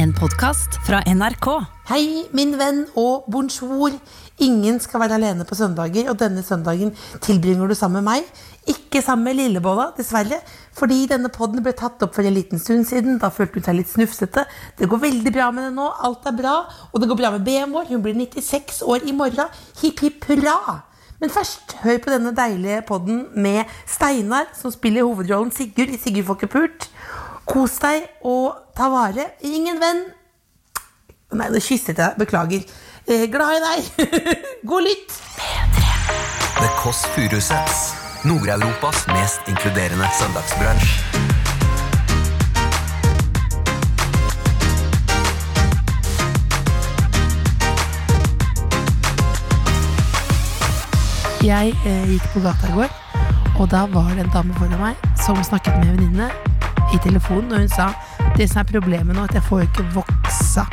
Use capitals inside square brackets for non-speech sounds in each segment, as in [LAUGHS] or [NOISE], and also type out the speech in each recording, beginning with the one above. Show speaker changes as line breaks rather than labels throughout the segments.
En podkast fra NRK.
Hei, min venn, og bonjour. Ingen skal være alene på søndager, og denne søndagen tilbringer du sammen med meg. Ikke sammen med Lillebolla, dessverre, fordi denne podden ble tatt opp for en liten stund siden. Da følte hun seg litt snufsete. Det går veldig bra med henne nå, alt er bra. Og det går bra med BM vår, hun blir 96 år i morgen. Hipp hipp hurra! Men først, hør på denne deilige podden med Steinar, som spiller hovedrollen Sigurd i Sigurd får ikke pult. Kos deg og ta vare. Ring en venn. Nei, nå kysset jeg deg. Beklager. Eh, glad i deg. [LAUGHS] God lytt.
The Kåss Furuseths. Nord-Europas mest inkluderende søndagsbransj.
Jeg eh, gikk på gata i går, og da var det en dame foran meg som snakket med en venninne i telefonen, og hun sa det som er problemet nå, er at jeg får jo ikke voksa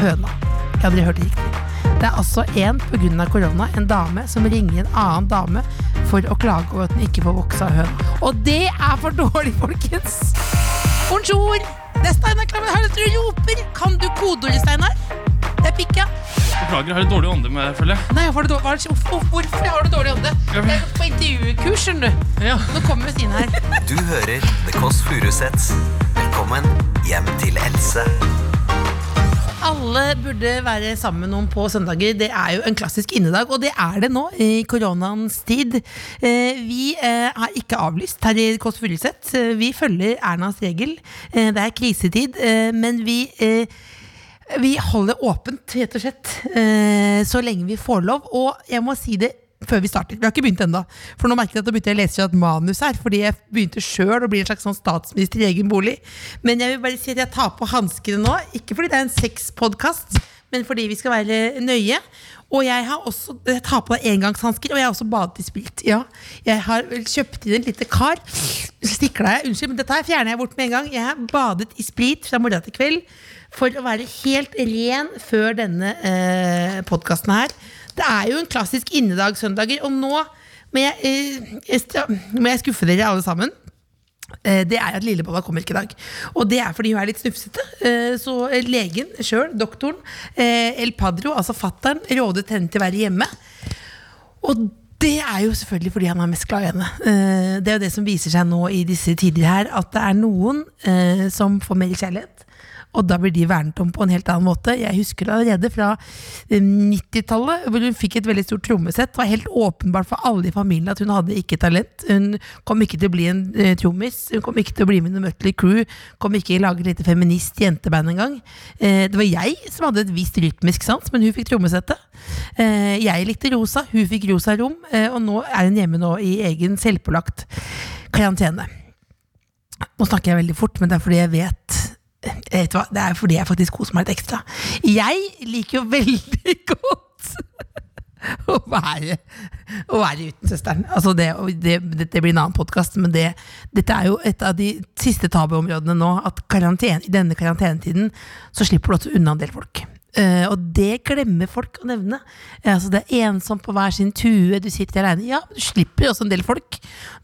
høna. Jeg har aldri hørt det riktig. Det er altså en på grunn av korona, en dame som ringer en annen dame for å klage over at hun ikke får voksa høna. Og det er for dårlig, folkens! Bonjour! Det er Steinar Klammen her, du roper! Kan du kodeordet, Steinar? Det er pikka.
Beklager, jeg har en dårlig ånde med, føler jeg.
Nei, har du dårlig, hva er det- hvorfor, hvorfor har du dårlig ånde?
Ja,
Jeg er på intervjukurs, skjønner du.
Ja.
Nå kommer Stine her.
Du hører The Kåss Furuseths. Velkommen hjem til Else.
Alle burde være sammen om på søndager. Det er jo en klassisk innedag, og det er det nå i koronaens tid. Eh, Vi eh, er ikke avlyst her i Kåss Furuseth. Eh, Vi følger Ernas regel. Eh, Det er krisetid, eh, men vi eh, Vi holder åpent, rett og slett, eh, så lenge vi får lov. Og jeg må si det før vi starter. Vi har ikke begynt ennå. For nå merket jeg at da begynte jeg å lese fra et manus her, fordi jeg begynte sjøl å bli en slags sånn statsminister i egen bolig. Men jeg vil bare si at jeg tar på hanskene nå. Ikke fordi det er en sexpodkast, men fordi vi skal være nøye. Og jeg har også jeg tar på engangshansker, og jeg har også badet i sprit. Ja. Jeg har vel kjøpt inn et lite kar. Stikla jeg, unnskyld, men dette her fjerner jeg bort med en gang. Jeg har badet i sprit fra morgen til kveld for å være helt ren før denne eh, podkasten her. Det er jo en klassisk innedagssøndager, og nå må jeg, eh, jeg stra- må jeg skuffe dere alle sammen. Eh, Det er at lillebolla kommer ikke i dag. Og det er fordi hun er litt snufsete. Eh, Så eh, legen sjøl, doktoren, eh, El Padro, altså fattern, rådet henne til å være hjemme. Og det er jo selvfølgelig fordi han er mest glad i henne. Eh, Det er jo det som viser seg nå i disse tider her, at det er noen eh, som får mer kjærlighet. Og da blir de vernet om på en helt annen måte. Jeg husker det allerede fra eh, 90-tallet, hvor hun fikk et veldig stort trommesett. Det var helt åpenbart for alle i familien at hun hadde ikke talent. Hun kom ikke til å bli en eh, trommis. Hun kom ikke til å bli med i noe Mutley Crew. Kom ikke til å lage et lite feminist jenteband engang. Eh, Det var jeg som hadde et visst rytmisk sans, men hun fikk trommesettet. Eh, Jeg likte rosa, hun fikk rosa rom, eh, og nå er hun hjemme nå i egen selvpålagt karantene. Nå snakker jeg veldig fort, men det er fordi jeg vet jeg vet hva, Det er fordi jeg faktisk koser meg litt ekstra. Jeg liker jo veldig [LAUGHS] godt å være, å være uten søsteren. Altså det, og det, dette blir en annen podkast, men det, dette er jo et av de siste tabuområdene nå. At karantene, i denne karantenetiden så slipper du også unna en del folk. Eh, og det glemmer folk å nevne. Eh, altså det er ensomt på hver sin tue, du sitter aleine. Ja, du slipper jo også en del folk.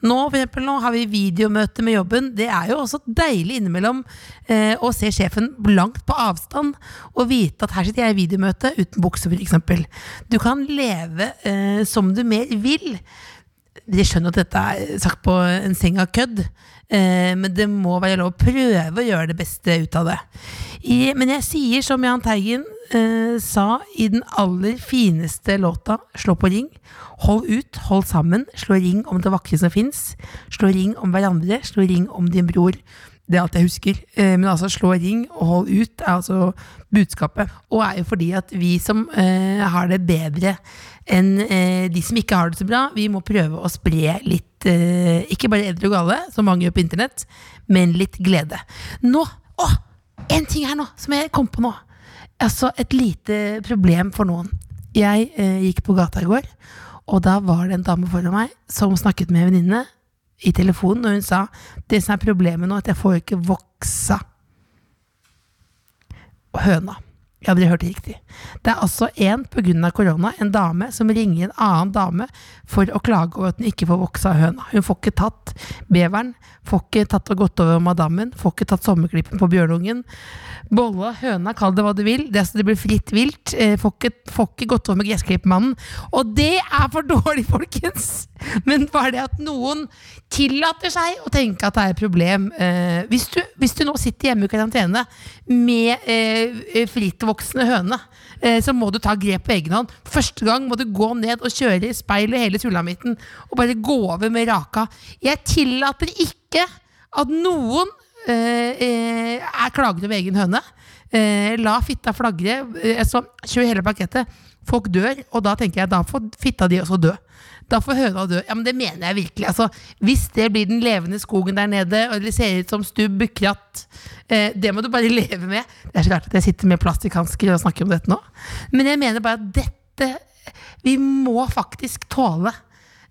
Nå for eksempel, nå har vi videomøte med jobben. Det er jo også deilig innimellom eh, å se sjefen langt på avstand og vite at her sitter jeg i videomøte uten bukse, f.eks. Du kan leve eh, som du mer vil. Jeg skjønner at dette er sagt på en seng av kødd, eh, men det må være lov å prøve å gjøre det beste ut av det. I, men jeg sier som Jahn Teigen eh, sa i den aller fineste låta, 'Slå på ring'. Hold ut, hold sammen, slå ring om det vakre som fins. Slå ring om hverandre, slå ring om din bror. Det er alt jeg husker. Eh, Men altså slå ring og hold ut er altså budskapet. Og er jo fordi at vi som eh, har det bedre enn eh, de som ikke har det så bra, vi må prøve å spre litt, eh, ikke bare edre og gale, som mange gjør på internett, men litt glede. Nå, å, en ting her nå, som jeg kom på nå. Altså et lite problem for noen. Jeg eh, gikk på gata i går, og da var det en dame foran meg som snakket med en venninne i telefonen, og hun sa det som er problemet nå, er at jeg får jo ikke voksa høna. Ja, dere hørte riktig. Det er altså en pga. korona, en dame som ringer en annen dame for å klage over at hun ikke får vokse av høna. Hun får ikke tatt beveren, får ikke tatt og gått over madammen, får ikke tatt sommerklippen på bjørnungen. Bolla, høna, kall det hva du vil. Det, er så det blir fritt vilt. Eh, Får ikke, får ikke gått over med gressklippmannen. Og det er for dårlig, folkens! Men bare det at noen tillater seg å tenke at det er et problem. Eh, hvis, du, hvis du nå sitter hjemme i karantene med eh, frittvoksende høne, eh, så må du ta grep på egen hånd. Første gang må du gå ned og kjøre i speilet hele sulamitten og bare gå over med raka. Jeg tillater ikke at noen eh, eh, er klager over egen høne. Eh, la fitta flagre. Eh, så kjør hele pakettet. Folk dør, og da tenker jeg da får fitta di også dø. Da får høna dø. Ja, men det mener jeg virkelig. Altså, hvis det blir den levende skogen der nede, og det ser ut som stubb, kratt eh, Det må du bare [LAUGHS] leve med. Det er så rart at jeg sitter med plastikkhansker og snakker om dette nå. Men jeg mener bare at dette Vi må faktisk tåle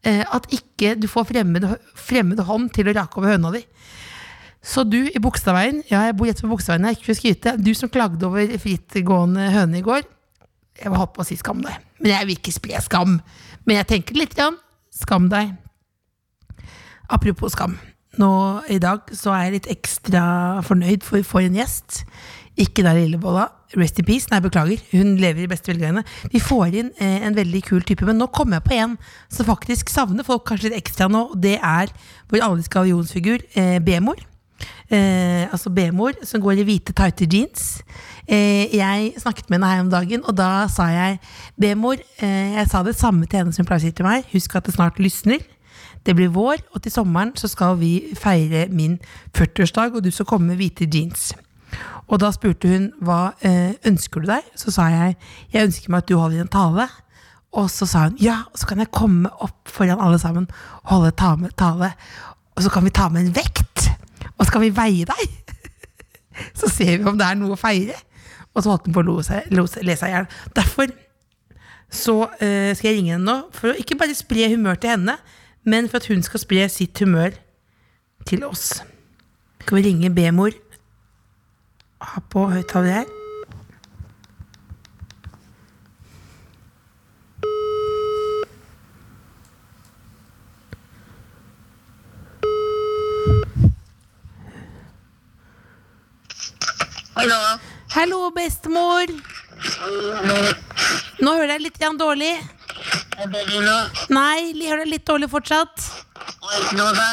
eh, at ikke du får fremmed, fremmed hånd til å rake over høna di. Så du i Bogstadveien, ja, jeg bor rett ved Bogstadveien, jeg er ikke for å skryte. Du som klagde over frittgående høne i går. Jeg holdt på å si skam deg, men jeg vil ikke spre skam. Men jeg tenker litt grann. Skam deg. Apropos skam. Nå i dag så er jeg litt ekstra fornøyd, for vi får en gjest. Ikke da Lillebolla. Rest in peace. Nei, beklager. Hun lever i beste velgående. Vi får inn eh, en veldig kul type, men nå kommer jeg på en som faktisk savner folk kanskje litt ekstra nå. og Det er vår alle skal figur, eh, B-mor. Eh, altså B-mor, som går i hvite, tighte jeans. Eh, jeg snakket med henne her om dagen, og da sa jeg B-mor, eh, jeg sa det samme til henne som hun pleier å si til meg. Husk at det snart lysner. Det blir vår, og til sommeren så skal vi feire min 40-årsdag, og du skal komme med hvite jeans. Og da spurte hun hva eh, ønsker du deg? Så sa jeg jeg ønsker meg at du holder en tale. Og så sa hun ja, og så kan jeg komme opp foran alle sammen og holde ta med tale. Og så kan vi ta med en vekt, og så kan vi veie deg. [LAUGHS] Så ser vi om det er noe å feire. Og så holdt hun på å lo seg- lo seg- le seg i hjel. Derfor så eh, skal jeg ringe henne nå, for å ikke bare spre humør til henne, men for at hun skal spre sitt humør til oss. Skal vi ringe B-mor? Ha på høyttaler her.
Hallo.
Hallo, bestemor! Nå hører jeg litt grann dårlig.
Er det du nå?
Nei, jeg hører deg litt dårlig fortsatt.
Og ikke nå, da?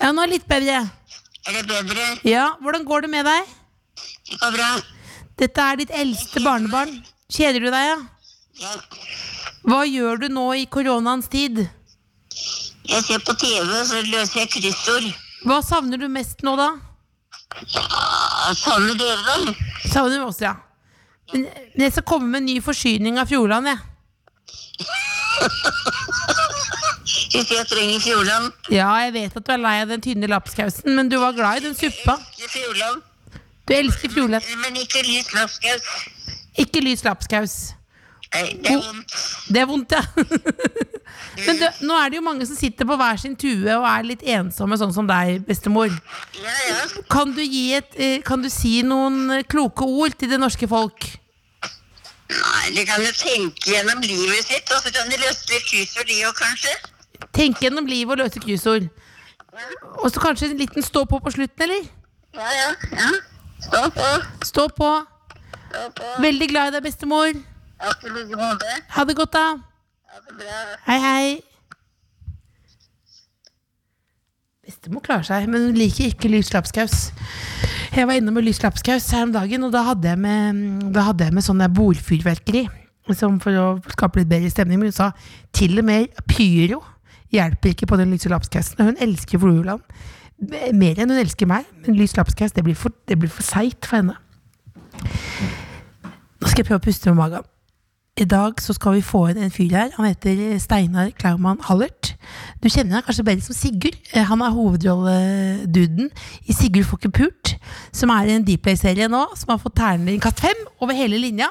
Ja, nå er det litt bedre.
Er det bedre?
Ja, Hvordan går det med deg?
Det går bra.
Dette er ditt eldste barnebarn. Kjeder du deg, ja?
Ja.
Hva gjør du nå i koronaens tid?
Jeg ser på TV, så løser jeg kryssord.
Hva savner du mest nå, da?
Ah, Savner dere dem?
Savner du oss, ja. Men men jeg skal komme med en ny forsyning av Fjordland, jeg.
Hvis jeg trenger Fjordland.
Ja, jeg vet at du er lei av den tynne lapskausen, men du var glad i den suppa.
Ikke Fjordland,
Du elsker Fjordland.
men ikke lys lapskaus.
Ikke lys lapskaus.
Nei, det er vondt.
Det er vondt, ja. [LAUGHS] Men du, nå er det jo mange som sitter på hver sin tue og er litt ensomme, sånn som deg, bestemor.
Ja, ja.
Kan du, gi et, eh, kan du si noen eh, kloke ord til det norske folk?
Nei, de kan jo tenke gjennom livet sitt, og så kan de løse litt kryssord, de òg, kanskje.
Tenk gjennom livet og løse kryssord. Og så kanskje en liten stå på på slutten, eller?
Ja, ja. ja. Stå på.
Stå på.
Stå på.
Veldig glad i deg, bestemor.
Absolutt i hodet.
Ha det godt, da.
Ha det bra.
Hei, hei. Bestemor klarer seg, men hun liker ikke lys lapskaus. Jeg var innom med lys lapskaus her om dagen, og da hadde jeg med, da hadde jeg med sånn der bordfyrverkeri. Liksom for å skape litt bedre stemning. Men hun sa til og med pyro hjelper ikke på den lyse lapskausen. og Hun elsker Floruland mer enn hun elsker meg, men lys lapskaus det blir for, det blir for seigt for henne. Nå skal jeg prøve å puste med magen. I dag så skal vi få inn en fyr her. Han heter Steinar Klaumann Hallert. Du kjenner han kanskje bedre som Sigurd. Eh, Han er hovedrolleduden i Sigurd får ikke pult, som er i en Dplay-serie nå, som har fått terningkast fem over hele linja.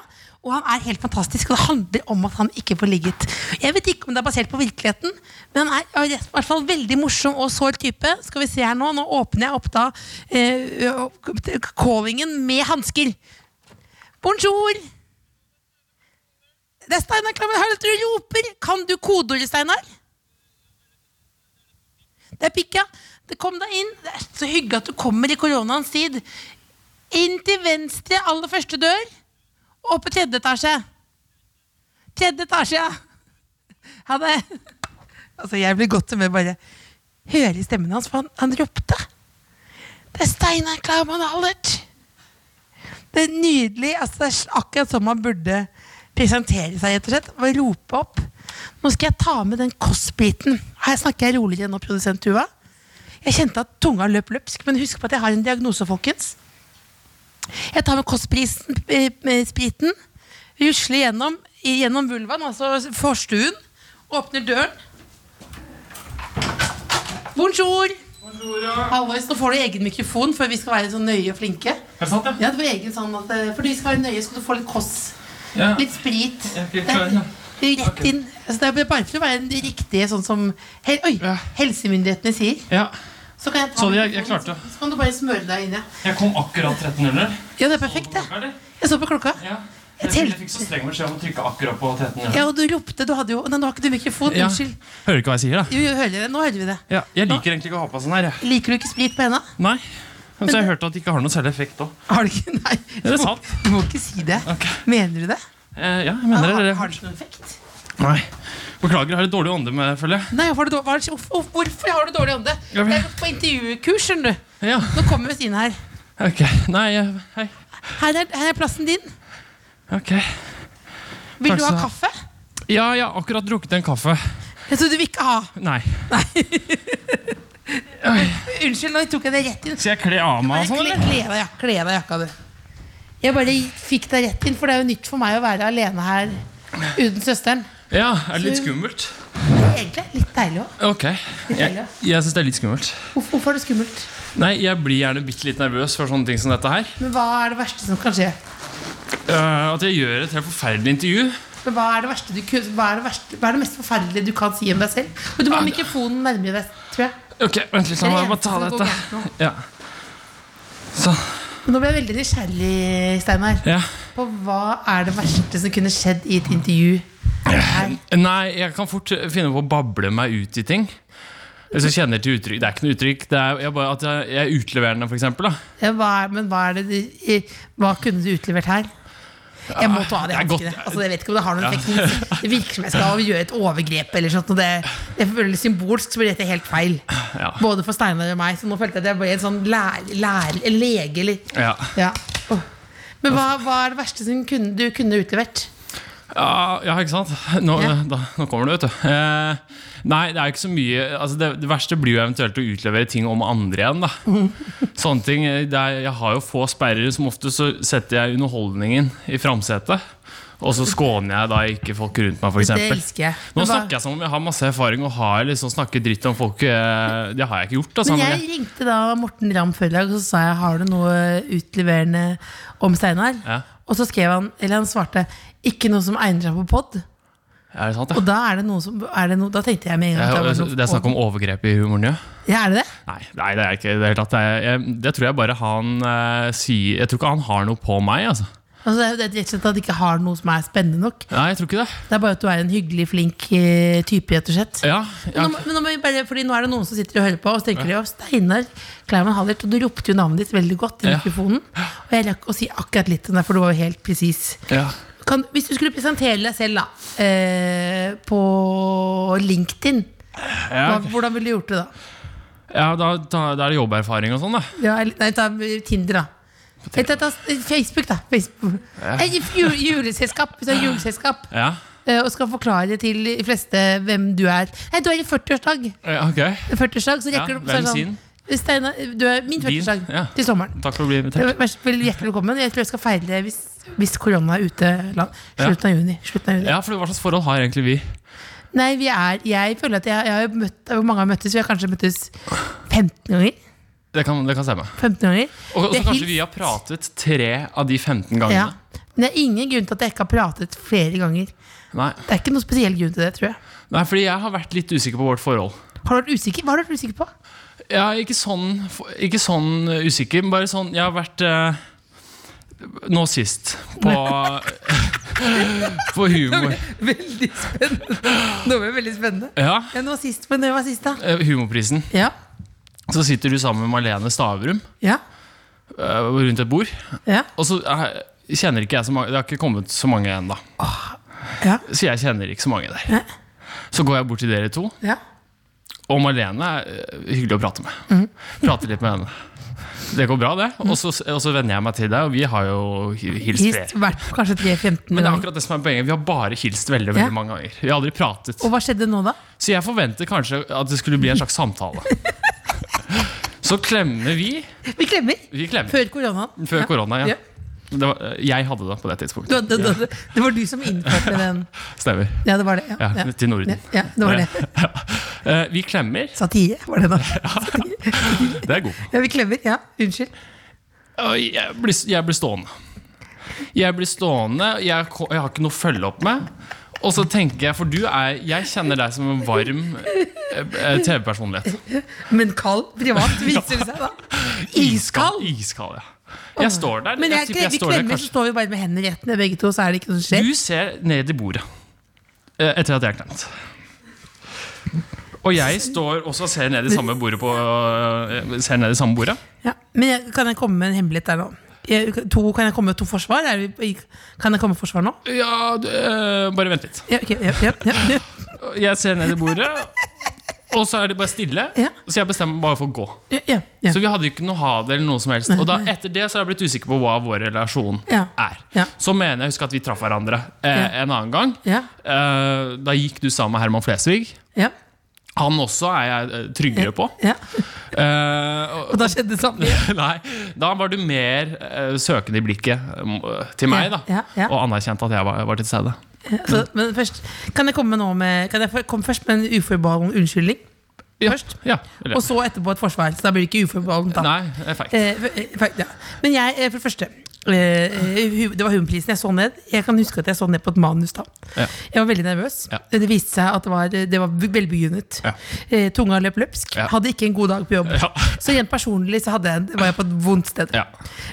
Og han er helt fantastisk, og det handler om at han ikke får ligget. Jeg vet ikke om det er basert på virkeligheten, men han er i hvert fall veldig morsom og sår type. Skal vi se her nå. Nå åpner jeg opp da eh, callingen med hansker. Bonjour! Det er Steinar Klammen Harald som roper! Kan du kodeordet, Steinar? Det er pikka. Det kom deg inn. Det er så hyggelig at du kommer i koronaens tid. Inn til venstre aller første dør, og opp i tredje etasje. Tredje etasje, ja. Ha det. Altså, jeg blir godt humør bare hører stemmen hans, for han, han ropte. Det er Steinar Klaumann Hallert. Det er nydelig. Altså, det er akkurat som man burde presentere seg, rett og slett. Og rope opp. Nå skal jeg ta med den kostbiten. Her snakker jeg roligere enn nå, produsent Tuva. Jeg kjente at tunga løp løpsk, men husk på at jeg har en diagnose, folkens. Jeg tar med kostprisen, eh, med spriten, rusler gjennom, gjennom vulvaen, altså forstuen, åpner døren. Bonjour! Hallois, nå får du egen mikrofon, for vi skal være så nøye og flinke.
Er det sant, ja?
Ja, det var egen sånn at eh, For du skal være nøye, skal du få litt koss.
Ja.
Litt sprit.
Ja,
Det
litt
er
klar, ja.
Rett inn. Altså, det er bare for å være en riktig sånn som hel, Oi!
Ja.
Helsemyndighetene sier.
ja.
Så kan jeg ta
Så jeg- jeg
mikrofonen,
klarte.
Så, så kan du bare smøre deg inn, ja.
Jeg kom akkurat 1300.
Ja, det er perfekt, det.
Eller?
Jeg så på klokka.
Ja.
Jeg
Jeg, jeg
telte.
fikk så streng beskjed om å trykke akkurat på
Ja,
1300.
og du ropte. Du hadde jo Nei, nå har ikke du mikrofon.
Ja.
Unnskyld.
Hører ikke hva jeg sier, da.
Jo, jo, hører det. Nå hører vi det.
Ja, jeg liker egentlig ikke å ha på sånn her. jeg.
Liker du ikke sprit på henda?
Nei. Så jeg hørte at det ikke har noe særlig effekt òg.
Har du ikke? [LAUGHS] Nei.
Er det sant?
Du må ikke si det.
Ok.
Mener du det?
Eh, ja, jeg mener det.
har,
det-
har det ikke noen effekt?
Nei. Beklager, jeg har et dårlig ånde med, føler jeg.
Nei, har du dår- hva er det- hvorfor hvorfor har du dårlig ånde?
Ja,
Jeg
men-
har gått på intervjukurs, skjønner du.
Ja,
Nå kommer vi inn her.
ok. Nei, eh, hei.
Her er, her er plassen din.
Ok.
Vil
Takk
du
skal
ha
du ha.
kaffe?
Ja, jeg har akkurat drukket en kaffe.
Jeg trodde du vil ikke ha.
Nei.
Unnskyld, nå tok jeg det rett inn.
Skal jeg kle av
Bare
meg og sånn,
Kle kle
eller?
av deg, kle av deg jakka, du. Jeg bare fikk deg rett inn, for det er jo nytt for meg å være alene her uten søsteren.
Ja, er det litt skummelt?
Egentlig litt deilig òg.
Ok. Jeg, jeg syns det er litt skummelt.
Hvorfor, hvorfor er det skummelt?
Nei, jeg blir gjerne bitte litt nervøs for sånne ting som dette her.
Men hva er det verste som kan skje?
Eh, at jeg gjør et helt forferdelig intervju.
Men hva er det verste du kun- hva er det, verste, hva er det mest forferdelige du kan si om deg selv? Men du må ha mikrofonen nærmere deg, tror jeg.
Ok, vent litt, la
Det er
meg bare
det
ta
eneste som
dette.
går gærent
Ja. Sånn.
Men Nå ble jeg veldig nysgjerrig, Steinar.
Ja.
På hva er det verste som kunne skjedd i et intervju? Her.
Nei, jeg kan fort finne på å bable meg ut i ting. Hvis jeg kjenner til uttrykk. Det er ikke noe uttrykk. Det er jeg bare, at jeg, jeg er utleverende, for eksempel. Da.
Ja, hva er, men hva, er det du, i- hva kunne du utlevert her? Jeg må ta av det
det er godt.
hanskene. Altså, jeg vet ikke om det har noen effekt. men Det virker som jeg skal gjøre et overgrep. Eller sånt, og det, det føles symbolsk, så blir dette helt feil.
Ja.
Både for Steinar og meg. Så nå følte jeg at jeg ble en sånn lær, lær, en lege. Eller.
Ja.
Ja. Åh. Men hva, hva er det verste som kunne, du kunne utlevert?
Ja, ja, ikke sant? [LAUGHS] Nå,
Ja.
da, nå kommer det, vet du. Eh, nei, det er jo ikke så mye altså det, det verste blir jo eventuelt å utlevere ting om andre igjen.
[LAUGHS]
Da. Sånne ting, eh, det er, jeg har jo få sperrer. Som ofte så setter jeg underholdningen i framsetet. Og så skåner jeg da ikke folk rundt meg,
Det
f.eks.
elsker jeg.
Nå
Men hva-
snakker jeg som om jeg har masse erfaring og har liksom snakket dritt om folk. eh, Det har jeg ikke gjort. Altså,
Men
men
jeg ringte da Morten Ramm før i dag, og så sa jeg har du noe utleverende om Steinar.
Ja.
Og så skrev han, eller han svarte ikke noe som egner seg på pod.
er det sant,
Og
ja?
da er det noe som er det noe, Da tenkte jeg med en gang at
Det
var
er-
noe-
altså, det er snakk om overgrep i humoren, ja.
Ja, er det det?
Nei, nei, det er ikke det hele tatt. Det, er, jeg, det tror jeg bare han eh, sier Jeg tror ikke han har noe på meg, altså.
Altså, det er- det er rett og slett at det ikke har noe som er spennende nok.
Nei, jeg tror ikke det.
Det er bare at du er en hyggelig, flink eh, type, rett og slett.
Ja, ja.
Men nå, må- men nå, må vi bare, fordi nå er det noen som sitter og hører på, og så tenker de jo Steinar Kleiman Hallert. Og du ropte jo navnet ditt veldig godt i
Ja.
mikrofonen. Og jeg rakk å si akkurat litt om det, for du var jo helt presis.
ja.
kan, Hvis du skulle presentere deg selv da eh, På LinkedIn
ja,
hva,
ok.
Hvordan ville du gjort det da?
ja da, da, da er det jobberfaring og sånn, da.
Ja, eller, nei, ta Tinder da Nei, ta- ta Facebook da Facebook. Nei, ju- Juleselskap, hvis du har juleselskap
Ja,
eh, Og skal forklare til de fleste Hvem du er Nei, du er i 40-årsdag
ja ok.
40-årsdag, så
Ja,
rekker du opp
hvem
så er det sånn,
sin?
Steinar, du er min 40-årsdag
Din, ja.
til sommeren
Takk for å bli invitert.
Vær så vel hjertelig velkommen Jeg tror jeg skal feire det hvis, hvis korona er ute land. Slutten av juni, slutten av juni.
Ja, for Hva slags forhold har egentlig vi?
Nei, vi er, jeg føler at jeg, jeg har jo møtt, hvor mange har møttes? Vi har kanskje møttes 15 ganger.
Det kan, det kan stemme.
15 ganger.
Og og
Det
så
er
kanskje
hils-
vi har pratet tre av de 15
Ja.
gangene.
Men det er ingen grunn til at jeg ikke har pratet flere ganger.
Nei.
Det er ikke noe spesiell grunn til det, tror jeg.
Nei, fordi jeg har vært litt usikker på vårt forhold.
Har du vært usikker? Hva har du vært usikker på?
Ja, ikke sånn, ikke sånn usikker, men bare sånn Jeg har vært eh, nå sist [LAUGHS] på For humor.
Veldig spennende. Nå ble det veldig spennende.
Ja,
Ja, nå var sist, men det var sist, da.
eh, Humorprisen.
Ja.
Så sitter du sammen med Malene Stavrum
Ja.
eh, rundt et bord.
Ja.
Og så eh, kjenner ikke jeg så mange Det har ikke kommet så mange ennå.
Ja.
Så jeg kjenner ikke så mange der. Så går jeg bort til dere to,
ja.
og Malene er eh, hyggelig å prate med.
Mhm.
Prater litt med henne. Det går bra, det. Og så, og så venner jeg meg til deg, og vi har jo hi- hilst
Hist,
flere.
vært kanskje 3-15
Men det er
ganger.
akkurat det som er poenget. Vi har bare hilst veldig veldig
Ja.
mange ganger. Vi har aldri pratet.
Og hva skjedde nå, da?
Så jeg forventer kanskje at det skulle bli en slags
[LAUGHS]
samtale. Så klemmer vi.
Vi klemmer.
Vi klemmer.
Før koronaen.
Før korona,
Ja.
ja. Det var, eh, jeg hadde det på det
Du,
tidspunktet.
hadde- du, hadde- det var du som innførte den.
Stemmer.
Ja, det var det.
Ja,
Ja, ja.
Til Norden.
ja, ja det var det.
[LAUGHS] Eh, Vi klemmer.
Satire var
[LAUGHS]
det, da.
Det er god.
Ja, vi klemmer. Ja, unnskyld.
Og Jeg blir, jeg blir stående. Jeg blir stående, jeg, ko- jeg har ikke noe å følge opp med. Og så tenker jeg, for du er Jeg kjenner deg som en varm eh, eh, TV-personlighet.
Men kald
[LAUGHS]
privat, viser det seg, da. Iskald.
Iskald, ja. Jeg står der.
Men
jeg
jeg,
tipper jeg
vi
står der
klemmer, så
kanskje-
står vi bare med hendene rett ned, begge to, så er det ikke noe som skjer.
Du ser ned i bordet eh, etter at jeg har klemt. Og jeg står også og ser ned i samme bordet på eh, Ser ned i samme bordet.
Ja. Men jeg, kan jeg komme med en hemmelighet der nå? Jeg, to, kan jeg komme med to forsvar? Er vi, kan jeg komme med forsvar nå?
Ja, du, eh, bare vent litt.
Ja, ok, ja, ja, ja, ja.
Jeg ser ned i bordet, og så er det bare stille.
Ja.
Så jeg bestemmer meg bare for å gå.
Ja, ja, ja.
Så vi hadde jo ikke noe ha det eller noe som helst. Og da, etter det så har jeg blitt usikker på hva vår relasjon
Ja.
er.
Ja.
Så mener jeg husker at vi traff hverandre eh,
Ja.
en annen gang.
Ja.
Eh, da gikk du sammen med Herman Flesvig.
ja,
Han også er jeg eh, tryggere på.
ja.
Eh, og- [LAUGHS]
Og da skjedde det samme. igjen.
Nei, da var du mer eh, søkende i blikket eh, til meg, da.
Ja, ja, ja.
Og anerkjente at jeg var, var til stede.
Så, men først, kan jeg komme med noe med Kan jeg få- komme først med en uforbeholden unnskyldning?
Ja,
Først?
Ja, eller,
Og så etterpå et forsvar. Så da blir det ikke uforbeholdent. da.
Nei, eh, fact.
Eh, for- eh, for- ja. Men jeg, eh, for det første eh, hu- Det var humorprisen jeg så ned. Jeg kan huske at jeg så ned på et manus da.
Ja.
Jeg var veldig nervøs.
Ja.
Det viste seg at det var, eh, det var velbegrunnet.
Ja.
Eh, tunga løp løpsk.
Ja.
Hadde ikke en god dag på jobb.
Ja.
Så rent personlig så hadde jeg, var jeg på et vondt sted.
Ja.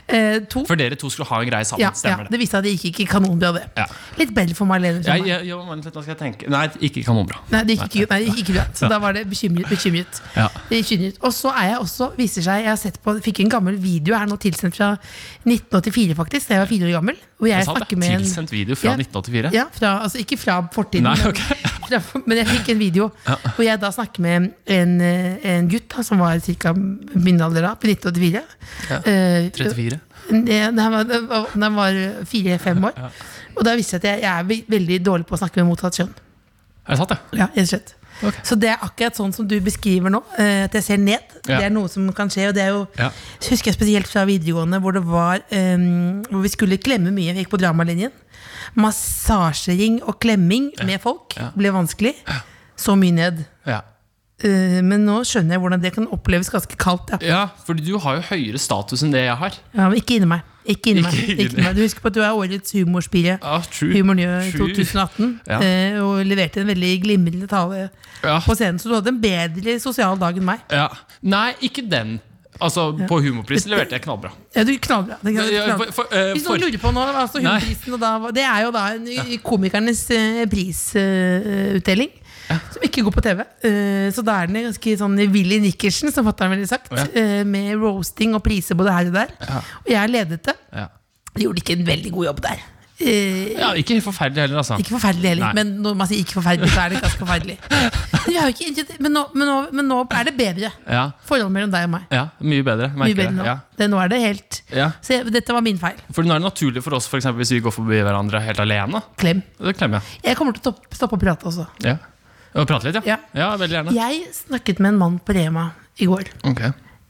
Eh, to
For dere to skulle ha en greie sammen,
ja, ja,
stemmer det?
Det viste seg at det gikk ikke kanonbra, det.
Ja.
Litt bedre for Marlene.
Ja,
for meg.
ja, ja, men da skal jeg tenke Nei, ikke kanonbra.
Nei, det gikk ikke, nei, det gikk ikke bra. Så da var det bekymret. bekymret.
Ja.
bekymret. Og så er jeg også, viser seg, jeg har sett på, fikk en gammel video her nå tilsendt fra 1984, faktisk, da jeg var fire år gammel. Hvor jeg
Jeg sa det.
snakker med en
Tilsendt video fra
Ja.
1984.
ja, fra, altså ikke fra fortiden,
Nei,
men-
ok.
[LAUGHS] fra, men jeg fikk en video hvor jeg da snakker med en, eh, en gutt da, som var ca. min alder da, på 1984.
Ja.
Eh,
34.
det- Da han var- da var- da han var fire-fem år. Og da visste jeg at jeg, jeg er ve- veldig dårlig på å snakke med mottatt kjønn.
Er det sant, det?
Ja, rett og slett.
Ok.
Så det er akkurat sånn som du beskriver nå, eh, at jeg ser ned.
Ja.
Det er noe som kan skje. Og det er jo,
Ja.
så husker jeg spesielt fra videregående, hvor det var eh, Hvor vi skulle klemme mye. Vi gikk på dramalinjen. Massasjering og klemming med folk
Ja.
ble vanskelig. Så mye ned.
Ja.
Eh, men nå skjønner jeg hvordan det kan oppleves ganske kaldt. Ja.
ja, fordi du har jo høyere status enn det jeg har.
Ja, men ikke inni meg. Ikke inni
Ikke
meg.
inni
Ikke inni meg. Du husker på at du er årets humorspire.
Ja, true.
Humor Njø i
True.
2018.
Ja.
eh, Og leverte en veldig glimrende tale
Ja.
på scenen. Så du hadde en bedre sosial dag enn meg.
Ja. Nei, ikke den. Altså, på Humorprisen leverte jeg knallbra.
Ja, du knallbra. Det er
Ja,
knallbra.
for- for- eh,
Hvis
for-
noen lurer på nå, altså
Nei.
humorprisen, og da, var- det er jo da en komikernes eh, prisutdeling. Som ikke går på TV. Eh, Så da er den ganske sånn Willy Nickersen, som fatter'n ville sagt.
Ja.
eh, Med roasting og priser både her og der. Og jeg ledet det.
Ja.
Gjorde ikke en veldig god jobb der. Eh,
ja, ikke helt forferdelig heller, altså.
Ikke forferdelig heller,
Nei.
men når man sier ikke forferdelig, så er det
[LAUGHS]
ganske forferdelig. Men, vi har jo ikke, men, nå, men, nå, men nå er det bedre.
Ja,
Forholdet mellom deg og meg.
ja mye bedre.
Mye
Merker
bedre nå.
det. Ja.
Det, nå er det helt
Ja.
Så jeg, dette var min feil.
For nå er det naturlig for oss, for eksempel, hvis vi går forbi hverandre helt alene.
Klem.
Det klemmer jeg.
Jeg kommer til å topp- stoppe å prate også.
Ja. Og prate litt, ja.
Ja.
Ja, veldig gjerne.
Jeg snakket med en mann på Rema i går.
Ok.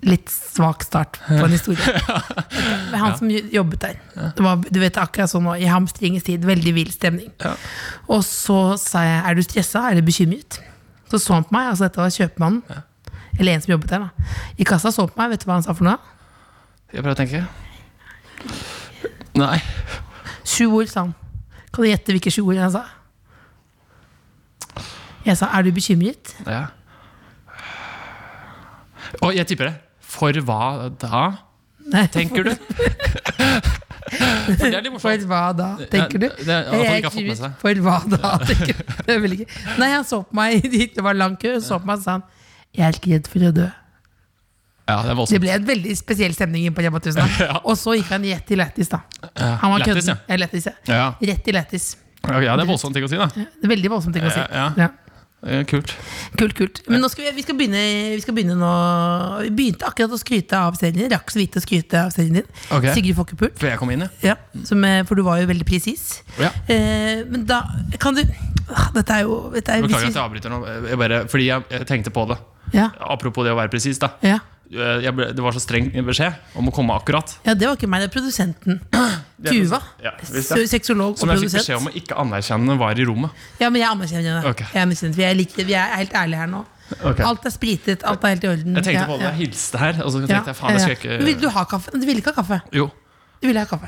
Litt svak start på en historie. Med han som jobbet der. Det var, du vet akkurat sånn nå, I hamstringens tid, veldig vill stemning. Og så sa jeg 'er du stressa, er du bekymret?' Så så han på meg, altså dette var kjøpmannen. Eller en som jobbet der, da. I kassa så han på meg, vet du hva han sa for noe?
Jeg prøver å tenke. Nei.
Sju ord, sa han. Kan du gjette hvilke sju ord han sa? Jeg sa 'er du bekymret?'
Ja. Og jeg tipper det. For hva da,
Nei, [LAUGHS]
tenker du? For det er litt
For
morsomt.
hva da, tenker du?
Ja, det- det- at han
Jeg er
ikke har fått med
kjus.
seg.
For hva da, tenker du? Jeg vil ikke. Nei, han så på meg, det var lang kø, så på meg og sa han jeg er ikke redd for å dø.
Ja, det er
Det
voldsomt.
ble en veldig spesiell stemning inn på Rema 1000. da.
[LAUGHS] Ja.
Og så gikk han rett i lættis, da.
Ja,
Han var
lættis,
kødden.
ja.
Ja, lættis, ja.
Ja.
Rett i lættis.
Ok, ja, det er voldsomt ting å si, da.
Det er Veldig voldsomt ting å si.
Ja, ja.
Ja.
Eh, Kult.
Kult, kult. Men nå skal vi, vi, skal begynne, vi skal begynne nå Vi begynte akkurat å skryte av serien din. Rakk så vidt å skryte av serien din.
Ok.
Sigrid Fokkepult.
Før jeg kom inn, ja.
Ja, som, eh, for du var jo veldig presis.
Ja.
Eh, men da kan du ah, Dette er jo dette er,
Beklager
hvis
at jeg avbryter nå, jeg bare, fordi jeg, jeg tenkte på det.
vi- ja,
Apropos det å være presis, da.
ja.
Eh, Jeg ble, det var så streng beskjed om å komme akkurat.
ja, det var ikke meg, det er
[CLEARS THROAT]
produsenten. Tuva.
Ja, visst
se-
det.
Sexolog og
Som jeg fikk
produsent.
beskjed om å ikke anerkjenne var i rommet.
Ja, men jeg anerkjenner det.
Ok.
Jeg anerkjenner det. Vi, er like, vi er helt ærlige her nå.
Ok.
Alt er spritet, alt er helt i orden.
Jeg tenkte på det,
ja,
jeg hilste her, og så
ja.
tenkte jeg faen, jeg
Ja, ja.
skal
Men
ikke
Ville du ha kaffe? Du ville ikke ha kaffe.
Jo.
Du ville ha kaffe.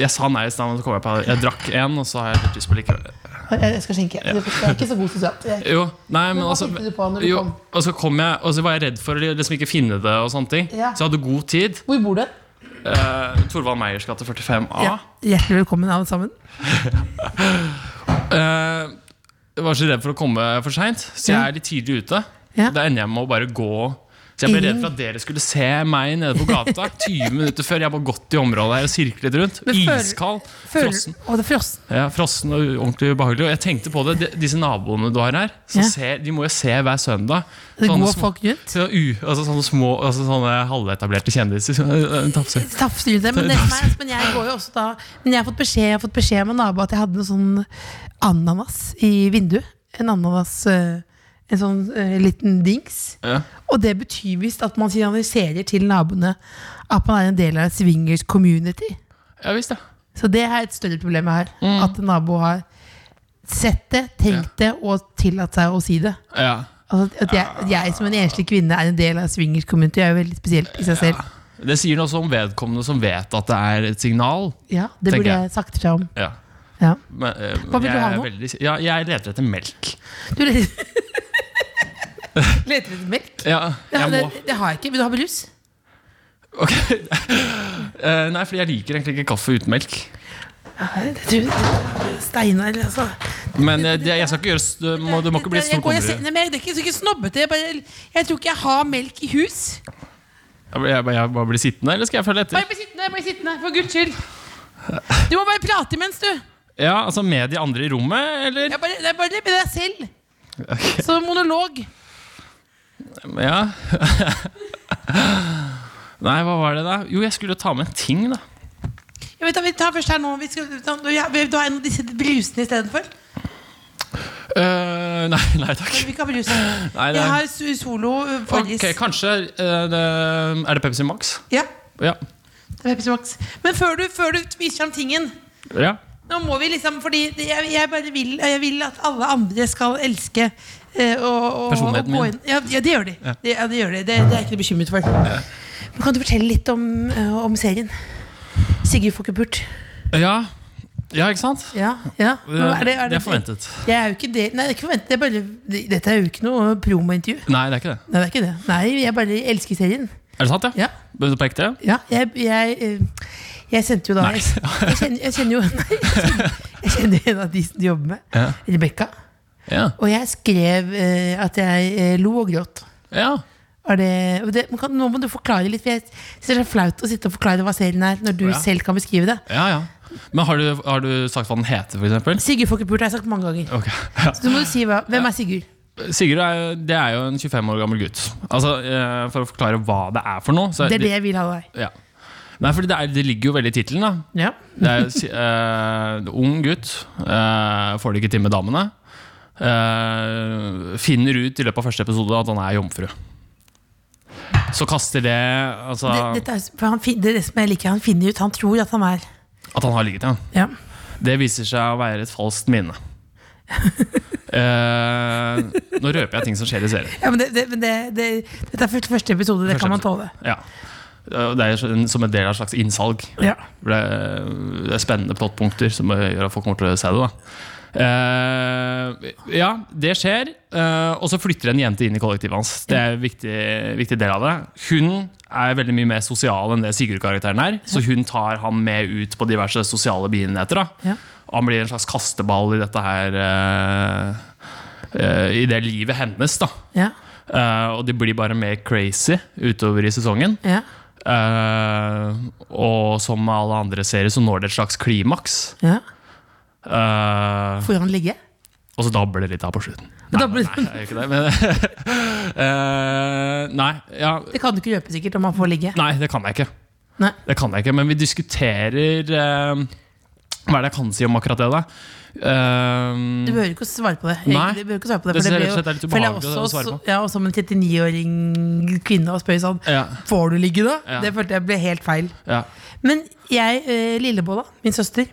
Jeg sa nei i stad, men så kom jeg på Jeg drakk én, og så har jeg litt lyst på likevel.
Jeg jeg skal skjenke. Det er ikke så god
[LAUGHS]
sosialt. Jeg-
Jo, nei, men
hva
altså
tenkte du på når du
jo,
kom?
Og så kom jeg, og så var jeg redd for å liksom ikke finne det og sånne ting.
Ja.
Så jeg hadde god tid.
Hvor bor du?
Eh, Thorvald Meyers gate 45A.
Ja. Hjertelig velkommen, alle sammen.
Eh, jeg var så redd for å komme for seint, så jeg
Ja.
er litt tidlig ute.
Ja.
Da ender jeg med å bare gå. Så jeg ble redd
Ingen-
for at dere skulle se meg nede på gata 20 minutter før. Jeg har bare gått i området her og sirklet rundt.
Men føler-
Iskald.
Føler-
Frossen.
Å, det er frossen.
Ja, frossen og ordentlig ubehagelig. Og jeg tenkte på det, de, disse naboene du har her,
Ja.
som ser, de må jo se hver søndag.
Det
Sånne
går
små-
folk rundt.
så, u, altså sånne små altså sånne halvetablerte kjendiser. som- eh, eh, Tafser.
Tafser rundt det, men, det som er- men jeg går jo også da Men jeg har fått beskjed, jeg har fått beskjed av en nabo at jeg hadde en sånn ananas i vinduet. En ananas eh, En sånn eh, liten dings.
Ja.
Og det betyr visst at man signaliserer til naboene at man er en del av et swingers community.
Ja visst, ja.
Så det er et større problem jeg har.
Mm.
At en nabo har sett det, tenkt det og tillatt seg å si det.
ja.
Altså at jeg, at jeg som en enslig kvinne er en del av swingers community, er jo veldig spesielt i seg selv.
Det sier noe også om vedkommende som vet at det er et signal.
Ja, Det
Tenker
burde
jeg.
jeg sagt fra om.
Ja.
Ja.
Men, eh,
Hva vil
jeg
du ha
er
nå?
Veldig, ja, jeg leter etter melk.
Du leter
[LAUGHS]
Leter etter melk?
Ja,
Ja,
jeg
det,
må.
det har jeg ikke. Vil du ha brus?
[LAUGHS] Ok. Eh, Nei, fordi jeg liker egentlig ikke kaffe uten melk.
Steinar, altså.
Men eh, det, jeg skal ikke gjøre s- du må, du må ikke bli
jeg,
stor
går, jeg, ser-
konge.
nei, men jeg, det er ikke, så ikke snobbete. Jeg, bare, jeg tror ikke jeg har melk i hus.
Jeg, bare- jeg, bare- jeg bare blir sittende, eller skal jeg følge
Bare
etter?
bli sittende, bare sittende, for guds skyld. Du må bare prate imens, du.
Ja, altså Med de andre i rommet, eller?
Jeg bare, det er bare med deg selv. Så monolog.
Ja. [LAUGHS] Nei, hva var det da? Jo, jeg skulle jo ta med en ting, da.
Jeg vet, da, vi tar først her nå. Vi skal, ta- ja, vil du ha en av disse brusene istedenfor?
Eh, nei, [LAUGHS] nei
Vi
takk.
kan ha brus.
[GASPS] Nei,
Jeg
nei.
har so- solo eh, Farris.
Ok, kanskje eh, det- Er det Pepsi Max?
Ja,
Ja.
det er Pepsi Max. Men før du, før du viser fram tingen
ja.
Nå må vi liksom, fordi det- jeg, jeg bare vil Jeg vil at alle andre skal elske eh, og, og, og
Personligheten
gå
min.
inn. Ja, ja, det gjør de. Ja. Det, ja, det, gjør de. Det, det er jeg ikke noe bekymret for. Men kan du fortelle litt om, eh, om serien? Sigrid Fokkepult.
Ja, ja ikke sant?
Ja, ja.
Det
Nå
er, det er forventet.
Jeg er jo ikke det. Nei, det er ikke forventet. Det er bare, det- dette er jo ikke noe promointervju.
Nei, det er ikke det.
Nei, det er ikke det. Nei, jeg bare elsker serien.
Er det sant, ja?
Ja.
Begynte på ekte?
Ja, jeg, jeg, eh, jeg sendte jo da
Nei.
jeg, jeg, kjenner, jeg kjenner jo [LAUGHS] nei, Jeg kjenner jo en av de som du jobber med,
Ja.
Rebekka.
Ja.
Og jeg skrev eh, at jeg eh, lo og gråt.
ja.
Er det, og det, men kan, nå må du forklare litt, for jeg synes det er flaut å sitte og forklare hva serien er, når du
Ja.
selv kan beskrive det.
ja, ja. Men har du, har du sagt hva den heter, for eksempel?
Sigurd Fokkepult har jeg sagt mange ganger.
Ok, ja.
Så du må si hva, Hvem er Sigurd?
Sigurd er, jo- det er jo en 25 år gammel gutt. Altså, eh, For å forklare hva det er for noe så
Det er det jeg vil ha av deg.
Ja. Nei, fordi det, er, det ligger jo veldig i tittelen. da.
Ja.
Det er jo si- eh, ung gutt, eh, får det ikke til med damene. eh, finner ut i løpet av første episode at han er jomfru. Så kaster det altså,
Det, dette er, for han, fin- det er det som jeg liker. Han finner ut, han tror at han er
At han har ligget, ja.
Ja.
Det viser seg å være et falskt minne. Eh, nå røper jeg ting som skjer i serien.
ja men det, det, men det, det, dette er første- første episode, det
Første
kan man
episode.
tåle.
Ja. Og Det er sånn- som en del av et slags innsalg.
Ja.
Det er, det er spennende plottpunkter som gjør at folk kommer til å se det. da Eh, ja, det skjer. Eh, og så flytter en jente inn i kollektivet hans. Det er en viktig, viktig del av det. Hun er veldig mye mer sosial enn det Sigurd-karakteren er. Så hun tar han med ut på diverse sosiale begivenheter. da.
Ja.
Og han blir en slags kasteball i dette her eh, eh, I det livet hennes, da.
Ja.
Eh, og de blir bare mer crazy utover i sesongen.
Ja.
Eh, og som med alle andre serier så når det et slags klimaks.
ja.
Eh,
Får han ligge?
og så dabler det litt av på slutten.
Da blir-
[LAUGHS] nei, jeg gjør ikke det, men [LAUGHS] Eh, Nei, ja
Det kan du ikke røpe sikkert om han får ligge.
Nei, det kan jeg ikke.
Nei.
Det kan jeg ikke, men vi diskuterer eh, Hva er det jeg kan si om akkurat det, da? Eh,
Du behøver ikke å svare på det.
Nei.
Du behøver ikke å svare på det,
Det
for
synes
det
jeg rett og slett er litt
føler jeg
ubehagelig å svare på.
Ja, og som en 39-åring kvinne og spør sånn
Ja.
Får du ligge, da?
Ja.
Det følte jeg ble helt feil.
ja,
Men jeg, eh, Lillebolla, min søster,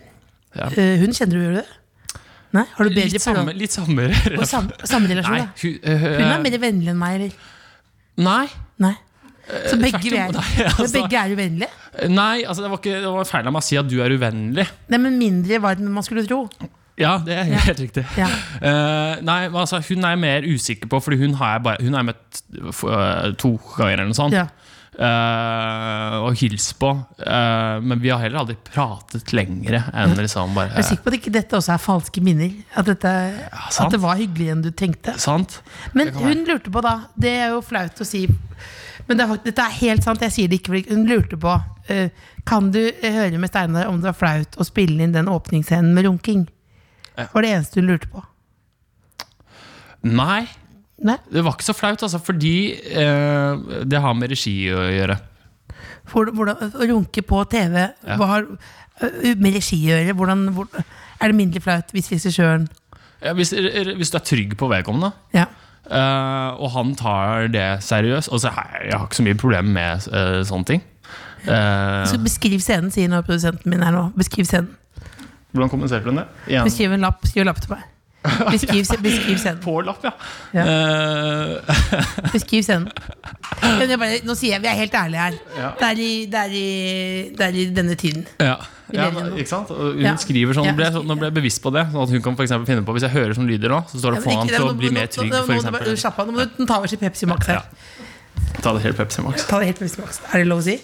Ja.
eh, hun kjenner du, gjør du det? Nei? Har du bedre
litt samme,
forhold-
litt samme
og samme, samme relasjon,
Nei,
da?
hun, eh,
Hun er mer vennlig enn meg, eller?
nei,
Nei. Så begge, vi er,
eh, tvert om, nei, [LAUGHS] altså.
men begge er uvennlige?
nei altså, det, var ikke, det var feil av meg å si at du er uvennlig.
Nei, men mindre varm enn man skulle tro.
Ja, det er helt riktig.
Ja.
Eh, nei, men altså, hun er jeg mer usikker på, Fordi hun har jeg bare Hun har jeg møtt eh, to ganger eller noe sånt.
Ja.
Eh, og hilst på. Eh, men vi har heller aldri pratet lengre enn liksom bare
Jeg er sikker på at ikke dette også er falske minner. At, dette,
sant.
at det var hyggeligere enn du tenkte.
Sant?
Men
Det kan
hun lurte på, da Det er jo flaut å si, men det er, fakt- dette er helt sant. Jeg sier det ikke fordi- Hun lurte på eh, Kan du eh, høre med Steinar om det var flaut å spille inn den åpningsscenen med runking?
Ja.
var det eneste hun lurte på.
Nei,
Nei,
det var ikke så flaut, altså, fordi eh, det har med regi å gjøre.
for, hvordan, Å runke på TV hva har, eh, med regi å gjøre? Hvordan, hvor, er det mindre flaut hvis regissøren
Ja, hvis, er- hvis du er trygg på vedkommende,
ja.
eh, og han tar det seriøst Og så har jeg jeg har ikke så mye problemer med eh, sånne ting. Eh,
Så Beskriv scenen, sier nå produsenten min her nå. Beskriv scenen.
hvordan kommuniserte hun det? Igjen.
Beskriv en lapp. Skriv en lapp til
[LAUGHS]
meg. Beskriv, se- beskriv scenen.
På lapp, ja.
Ja.
Eh, [LAUGHS]
Beskriv scenen. Ja, men jeg bare, nå sier jeg vi er helt ærlige her.
Ja.
Det, er i, det, er i, det er i denne tiden.
Ja, ja
lever
men,
nå.
ikke sant? Og Hun
Ja.
skriver sånn,
Ja.
nå ble, jeg sånn- nå ble jeg bevisst på det Sånn at hun kan for eksempel finne på Hvis jeg hører sånne lyder nå, så står det
Ja,
få
men
han
ikke-
til å
nå-
bli
nå-
mer
nå-
trygg
nå- nå-
for
bare-
eksempel
Slapp av, nå må du ta over sin Pepsi Max her.
Ja. Ta det helt Pepsi Max
Ta det helt Pepsi Max. Er det lov å si?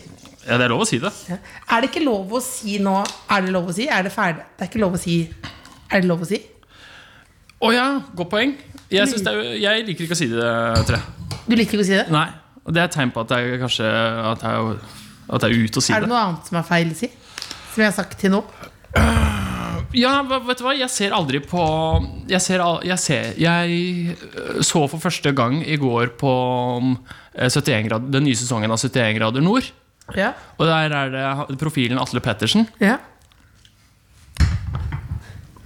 Ja, det er lov å si det
Ja. Er det ikke lov å si nå Er det lov å si? Er det ferdig? Det er ikke lov å si Er det lov å si?
Åja, godt poeng jeg, synes det er, jo- jeg liker ikke å si det, tror jeg
Du liker ikke å si det?
Nei, og det er et tegn på at jeg kanskje At jeg, at jeg er ute og
Er
sier
det
det,
noe annet som er feil å si? Som jeg har sagt til nå?
Ja, hva- vet du hva, jeg ser aldri på Jeg ser, al- jeg, ser jeg øh, så for første gang i går på øh, 71 grader, Den nye sesongen av 71 grader nord
Ja.
Og der er det profilen Atle Pettersen.
ja.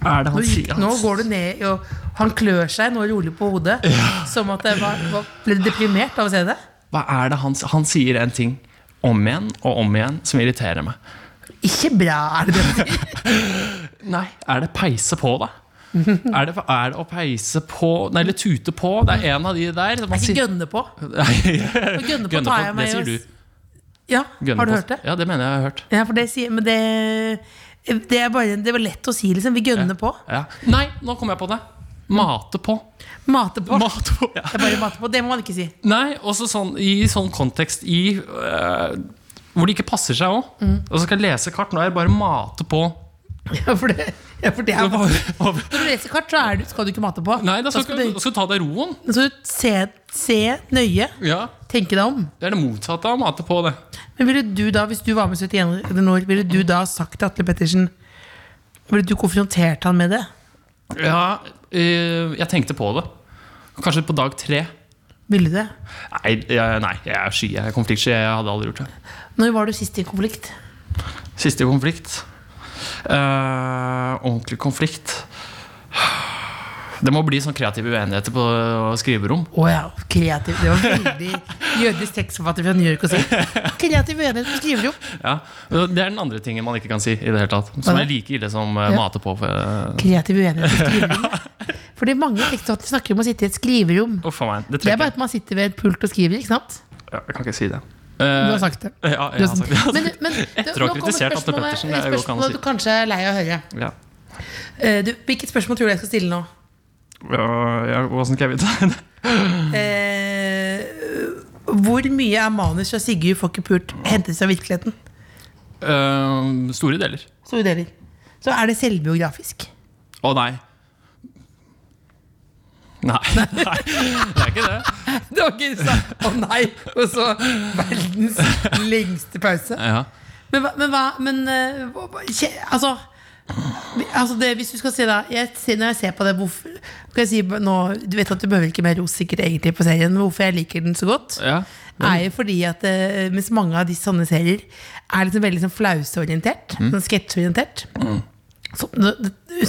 Er det
Nå,
han
gikk,
sier?
nå går du ned og han klør seg nå rolig på hodet. Som at jeg var, var, ble deprimert av å se det.
Hva er det han, s- han sier en ting om igjen og om igjen som irriterer meg.
Ikke bra, er det det? du sier?
Nei, er det peise på, [LAUGHS] da? er, det, er det å peise på Nei, eller tute på? Det er en av de der. Man
Ikke
sier-
gønne på.
Nei,
Og [LAUGHS] gønne på
Gønne
tar
på,
jeg
det
meg
sier
i
du.
oss. Ja,
Gønne
har du
på.
hørt det?
Ja, det mener jeg jeg har hørt.
Ja, for det sier Men det det er bare Det var lett å si, liksom. Vi gønner på.
Ja. Nei, nå kom jeg på det. Mate på.
Mate på.
Mate på, ja.
Det er bare mate på. Det må man ikke si.
Nei, også sånn, i sånn kontekst i, øh, Hvor det ikke passer seg òg.
Mm.
Og så skal jeg lese kart. Nå er det bare mate på.
Ja, for det, ja, for det er Når
[LAUGHS] Over-
du leser kart, så er du, skal du ikke mate på.
Nei, da skal, du-
du,
skal du ta deg roen.
da skal du se, se nøye.
Ja,
Tenke deg om.
Det er det motsatte av å mate på, det.
Men ville du da, hvis du var med 71 eller noe, ville du da sagt til Atle Pettersen Ville du konfrontert han med det?
Ja, øh, jeg tenkte på det. Kanskje på dag tre.
Ville det?
Nei, jeg, nei, jeg er sky. Jeg er konfliktsky. Jeg hadde aldri gjort det.
Når var du sist i konflikt?
Siste konflikt. Eh, ordentlig konflikt. Det må bli sånn kreative uenigheter på eh, skriverom.
Å ja, kreativ. Det var veldig jødisk tekstforfatter fra New York å si. Kreativ uenighet på skriverom.
Ja. Det er den andre tingen man ikke kan si. i det hele tatt Som
Hva
er
da?
like ille som eh,
Ja.
mate på. For, eh,
Kreativ uenighet på skriverom. Fordi mange tekstforfattere snakker om å sitte i et skriverom.
uff a meg. Det
Det er
trekker
bare at man sitter ved et pult og skriver, ikke sant?
ja, Jeg kan ikke si det.
Du
Eh,
har sagt det.
[LAUGHS] ja, altså, jeg har sagt det.
Men, men,
Etter å ha kritisert Atle Pettersen, det er jo
Spørsmålet
hva han
du kanskje er lei av å høre.
Ja.
Eh, du, hvilket spørsmål tror du jeg skal stille nå?
Ja, ja, Åssen skal jeg vite det? [LAUGHS]
Eh, hvor mye er manus fra Sigurd Fokkepult hentet fra virkeligheten?
Eh, store deler.
Så, deler. så er det selvbiografisk.
Å nei. Nei. [LAUGHS] nei. Det er ikke det.
[LAUGHS] Det var ikke sant. Å nei! Og så verdens lengste pause.
Ja.
Men hva Men, hva, men eh, hva- hva- kje- altså, vi- altså det, Hvis du skal si da jeg, ser- Når jeg ser på det hvorfor, kan jeg si nå, Du vet at du behøver ikke mer ros sikkert egentlig på serien, men hvorfor jeg liker den så godt?
Ja.
er jo fordi at eh, mens mange av de sånne serier er liksom veldig sånn flauseorientert,
Mm.
sånn sketsjeorientert som,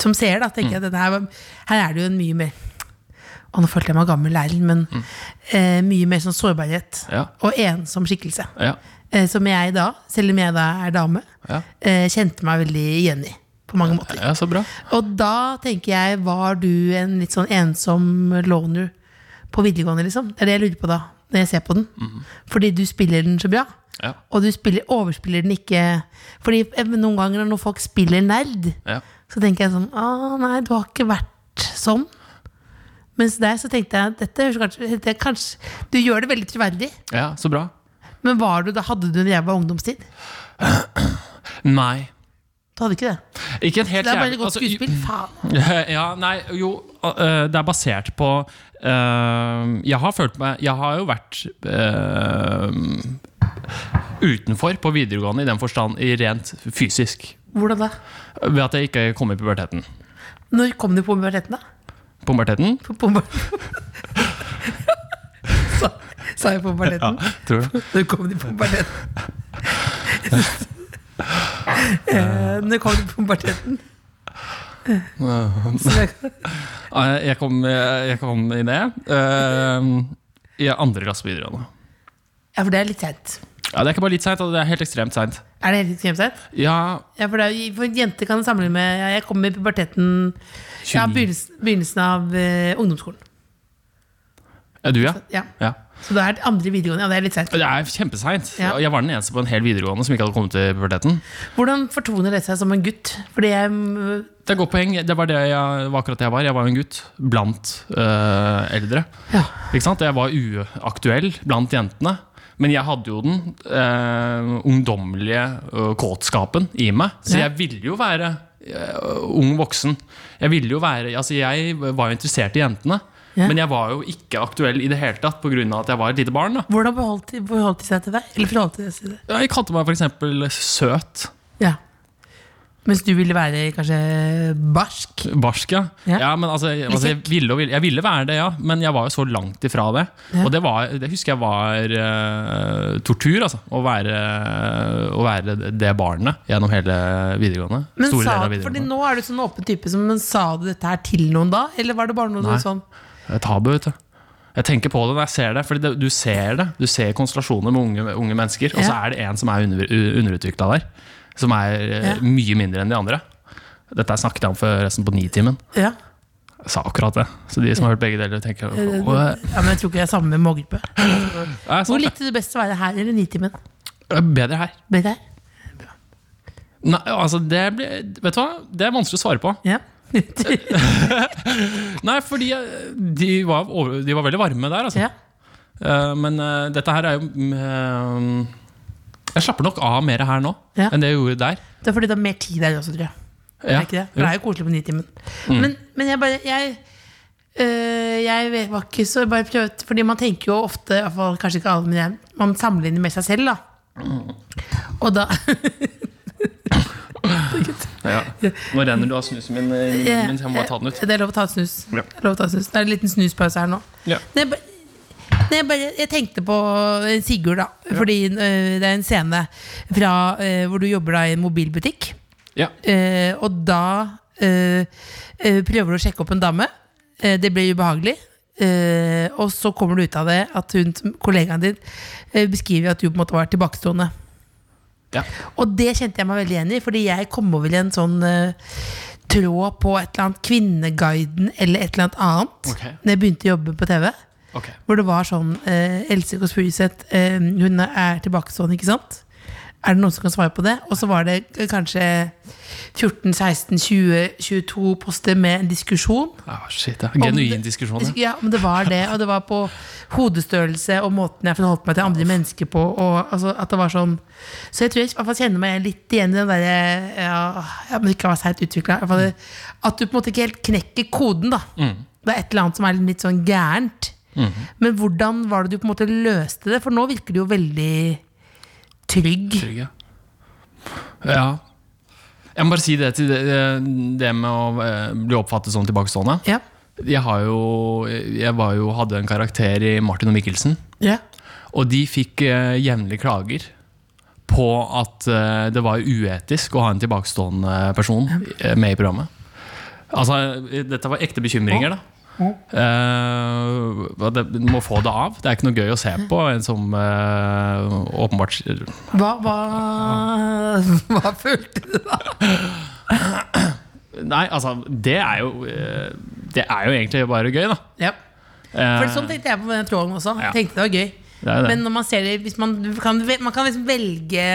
som seer, da, tenker
Mm.
jeg at dette her, her er det jo en mye mer Og nå følte jeg meg gammel lærer, men eh, mye mer sånn sårbarhet
Mm. Ja.
og ensom skikkelse.
ja.
Eh, som jeg da, selv om jeg da er dame,
Ja.
eh, kjente meg veldig igjen i. På mange måter.
ja, så bra.
Og da tenker jeg, var du en litt sånn ensom loner på videregående, liksom? Det er det jeg lurer på da, når jeg ser på den. Fordi du spiller den så bra.
Mhm. Ja.
Og du spiller, overspiller den ikke Fordi eh, noen ganger når folk spiller nerd,
Ja.
så tenker jeg sånn Å nei, du har ikke vært sånn. Mens der så tenkte jeg dette høres kanskje, dette, kanskje Du gjør det veldig troverdig,
ja, så bra.
men var du, da hadde du en jævla ungdomstid?
Nei.
Du hadde ikke det.
Ikke en helt
Det er bare
jævlig-
et godt
altså, i-
skuespill. Faen.
Eh, Ja, nei, jo øh, Det er basert på øh, Jeg har følt meg Jeg har jo vært øh, utenfor på videregående i den forstand i rent fysisk.
Hvordan da?
Ved at jeg ikke kom i puberteten.
Når kom du på puberteten, da?
Puberteten?
På bomba- Sa- Sa jeg på balletten?
tror du?
Nå kom de på balletten. Eh, Nå kom de på balletten. Så jeg-
Eh, Jeg kom, jeg kom i det eh, i andre klasse på videregående.
Ja, for det er litt seint.
Ja, det er ikke bare litt seint, altså, det er helt ekstremt seint.
Er det helt ekstremt seint?
Ja,
Ja, for, det er jo- for jenter kan sammenligne med ja, Jeg kom i puberteten ja,
Tjue.
begynnelsen, begynnelsen av eh, ungdomsskolen.
er du, ja?
Ja.
ja.
Så det er det andre videregående. Ja, det er litt seint.
Det er kjempeseint.
Ja.
Jeg var den eneste på en hel videregående som ikke hadde kommet til puberteten.
Hvordan fortoner det seg som en gutt? Fordi jeg mm,
Det er et godt poeng. Det var, det jeg, var akkurat det jeg var. Jeg var jo en gutt blant øh, eldre.
Ja.
Ikke sant? Jeg var uaktuell blant jentene. Men jeg hadde jo den øh, ungdommelige øh, kåtskapen i meg. Så
Ja.
jeg ville jo være øh, ung voksen. Jeg ville jo være Altså, jeg var jo interessert i jentene.
Ja.
Men jeg var jo ikke aktuell i det hele tatt pga. at jeg var et lite barn. da
Hvordan beholdt de forholdt de seg til deg? Eller forholdt de seg til det?
Jeg kalte meg f.eks. søt.
Ja. Mens du ville være kanskje barsk?
Barsk, ja.
Ja.
ja. men altså, jeg- altså, jeg, ville og ville, jeg ville være det, ja, men jeg var jo så langt ifra det.
Ja.
Og det, var, det husker jeg var eh, tortur, altså. Å være, å være det barnet gjennom hele videregående.
Men
Store
sa,
deler av
fordi
videregående.
nå er du sånn åpen type, som, men sa du dette her til noen da? Eller var det bare noe
Nei.
sånn
Det er Tabu, vet du. Jeg tenker på det når jeg ser det, fordi det, du ser det. Du ser konstellasjoner med unge, unge mennesker, og så
Ja.
er det en som er under, underutvikla der. Som er eh,
Ja.
mye mindre enn de andre. Dette snakket jeg om for resten på Nitimen.
Ja.
Jeg sa akkurat det. Så de som har hørt begge deler, tenker «Åh, sånn
ja, men jeg tror ikke jeg er samme med målgruppe.
jeg sa
Eh, Hvor
det».
likte du best å være her eller Nitimen?
Det er Bedre her.
Med deg?
Nei, altså det blir, Vet du hva? Det er vanskelig å svare på.
Ja. [LAUGHS]
Nei, fordi eh, de var, over, de var veldig varme der, altså.
ja.
Eh, men eh, dette her er jo mm, eh, Jeg slapper nok av mer her nå
Ja.
enn det jeg gjorde der.
Det er fordi du har mer tid der også, tror jeg.
Ja.
Er ikke det? For
Jo. Mm.
det er jo koselig på Nitimen. Men, men jeg bare jeg, øh, jeg vet- var ikke så bare prøvd, Fordi man tenker jo ofte, i hvert fall kanskje ikke alle, men jeg, man sammenligner med seg selv, da.
Mm.
Og da
Ja. Nå renner du av snusen min, eh,
Ja,
mens jeg må bare ta den ut.
eh, Det er lov å ta et snus.
Ja.
Det er lov å ta et snus. Det er en liten snuspause her nå.
Ja.
Nei, jeg ba- Nei, jeg, bare, jeg tenkte på eh, Sigurd, da. Fordi eh, det er en scene fra, eh, hvor du jobber da i en mobilbutikk.
Ja.
Eh, og da eh, eh, prøver du å sjekke opp en dame. Eh, det blir ubehagelig. Eh, og så kommer du ut av det at hun, som- kollegaen din eh, beskriver at du på en måte var tilbakestående.
Ja.
Og det kjente jeg meg veldig igjen i, fordi jeg kom over en sånn eh, tråd på et eller annet Kvinneguiden eller et eller annet annet
Ok.
Når jeg begynte å jobbe på TV.
Ok.
Hvor det var sånn eh, Else Kåss Furuseth, eh, hun er tilbakestående, ikke sant? Er det noen som kan svare på det? Og så var det eh, kanskje 14, 16, 20, 22 poster med en diskusjon.
Ah, shit, det er
om det-
Genuin diskusjon. Ja.
Ja, men det var det. Og det var på hodestørrelse og måten jeg forholdt meg til andre mennesker på. Og, altså, at det var sånn Så jeg tror jeg i hvert fall kjenner meg litt igjen i den derre ja, ja, men ikke var seigt utvikla. At du på en måte ikke helt knekker koden, da. Det er et eller annet som er litt sånn gærent. Men hvordan var det du på en måte løste det? For nå virker du jo veldig trygg.
Trygg, ja. ja. Jeg må bare si det til det, det med å eh, bli oppfattet som tilbakestående.
Ja.
Jeg, har jo, jeg var jo, hadde en karakter i Martin og Mikkelsen,
ja.
og de fikk eh, jevnlig klager på at eh, det var uetisk å ha en tilbakestående person eh, med i programmet. Altså, eh, dette var ekte bekymringer, da. Eh, og det, må få det av. Det er ikke noe gøy å se på en som eh, åpenbart
Hva, hva, [LAUGHS] hva følte du da?
Nei, altså, det er jo eh, Det er jo egentlig bare gøy, da.
Ja. For sånn tenkte jeg på den tråden også.
Ja.
Tenkte det var gøy.
Det er jo det.
Men når man ser det hvis man, du kan, ve- man kan liksom velge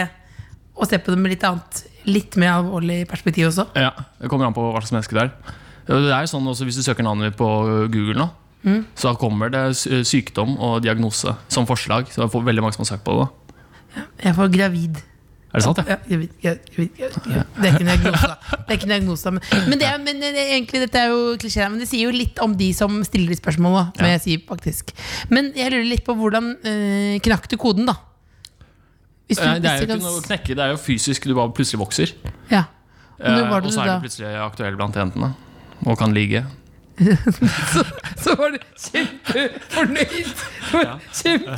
å se på det med litt annet Litt mer alvorlig perspektiv også.
Ja, Det kommer an på hva slags menneske det er. Det er jo sånn også Hvis du søker navnet ditt på øh, Google nå,
Mm.
så kommer det sy- sykdom og diagnose som forslag. Så det er veldig mange som har søkt på det. da
Jeg får gravid.
Er det sant?
Ja,
Ja?
gravid, gra- gravid, gravid. Det er ikke en diagnose, da. Det er ikke en diagnose, da. Men, men, det er, men det er egentlig, dette er jo klisjé, her, men det sier jo litt om de som stiller de spørsmåla. Men jeg sier faktisk Men jeg lurer litt på hvordan eh, knakk du koden, da? Hvis
Eh, Det
hvis
er jo
du
ikke
kan
noe å
s-
knekke, det er jo fysisk. Du bare plutselig vokser.
Ja. Og
Eh,
når var
Og
det du
så er
da
du plutselig aktuell blant jentene. Og kan ligge.
[LAUGHS] så var du kjempefornøyd. Kjempe.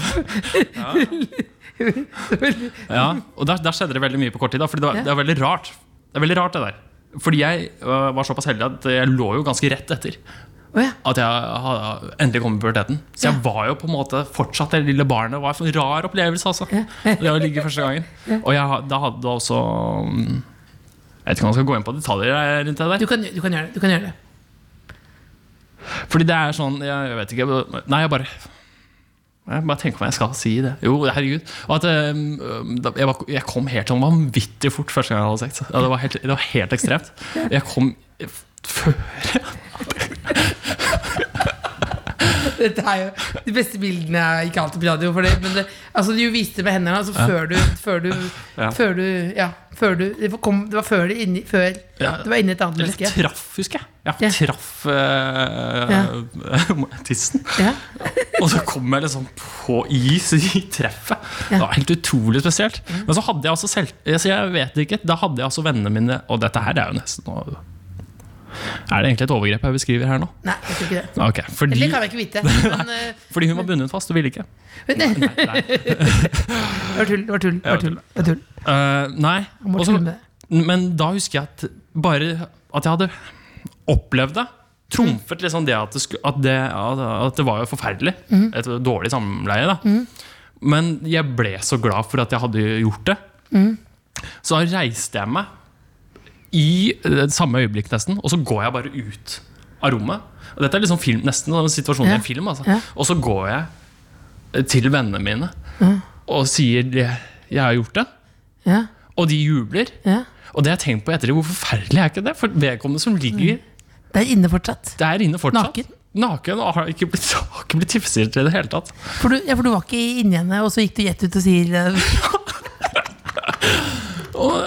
Ja, og der, der skjedde det veldig mye på kort tid. Da, fordi det, var, det er veldig rart. Det er veldig rart det der Fordi jeg øh, var såpass heldig at jeg lå jo ganske rett etter
[LAUGHS] Å ja.
at jeg ha- endelig kom i puberteten. Så jeg var jo på en måte fortsatt det lille barnet. Det var en rar opplevelse, altså. Det å ligge første gangen. Og jeg, ha- da hadde jeg også mm, Jeg vet ikke om jeg skal gå inn på detaljer rundt det der.
Du, kan, du kan gjøre det. Du kan gjøre det.
Fordi det er sånn Jeg, jeg vet ikke Nei, jeg bare jeg bare tenker på om jeg skal si det. Jo, herregud. Og at øhm, øhm, da- jeg, var, jeg kom helt sånn vanvittig fort første gang jeg hadde sex. Ja, det, var helt, det var helt ekstremt. Jeg kom f- før
Dette er jo De beste bildene er ikke alltid på radio. For det, men det, altså, du viste det med hendene altså, før du Før du
Ja.
Før du, ja, før du det, kom, det var før du inni, før,
Ja.
Du var inni et annet
Eller jeg
menneske.
traff, husker jeg. Jeg
Ja.
traff [LAUGHS] øh, tissen.
Ja.
Og så kom jeg liksom på is i treffet. Det var helt utrolig spesielt.
Mm.
Men så hadde jeg altså selv altså Jeg vet ikke, da hadde jeg altså vennene mine Og dette her er jo nesten nå- Er det egentlig et overgrep jeg beskriver her nå? Ah,
Nei, jeg tror ikke det.
Ok,
Eller
fordi,
Det kan jeg ikke vite. Men, eh,
fordi hun var bundet fast og ville ikke.
det [LAUGHS]
Nei.
var tull. Det var tull. Det var tull, det var tull.
Eh, nei.
må
Og så-
tulle med
men da husker jeg at bare at jeg hadde opplevd det. Trumfet liksom det at det, skulle, at det, at at det var jo forferdelig.
Mhm.
Et dårlig samleie. da Men jeg ble så glad for at jeg hadde gjort det.
Mhm.
Så da reiste jeg meg i eh, det samme øyeblikk nesten, og så går jeg bare ut av rommet. Og dette er liksom film, nesten en situasjon i
Ja.
en film. Altså.
Ja.
Og så går jeg eh, til vennene mine og sier det, 'jeg har gjort det',
Ja.
og de jubler.
Ja.
Og det har jeg tenkt på etter det, hvor forferdelig er ikke det? For vedkommende som ligger
Det er inne fortsatt.
der inne fortsatt.
Mm. Naken.
Naken og har ikke blitt, [LAUGHS] har ikke blitt tipset i det hele tatt.
For du, ja, for du var ikke inni henne, og så gikk du gjett ut og sier eh,
Og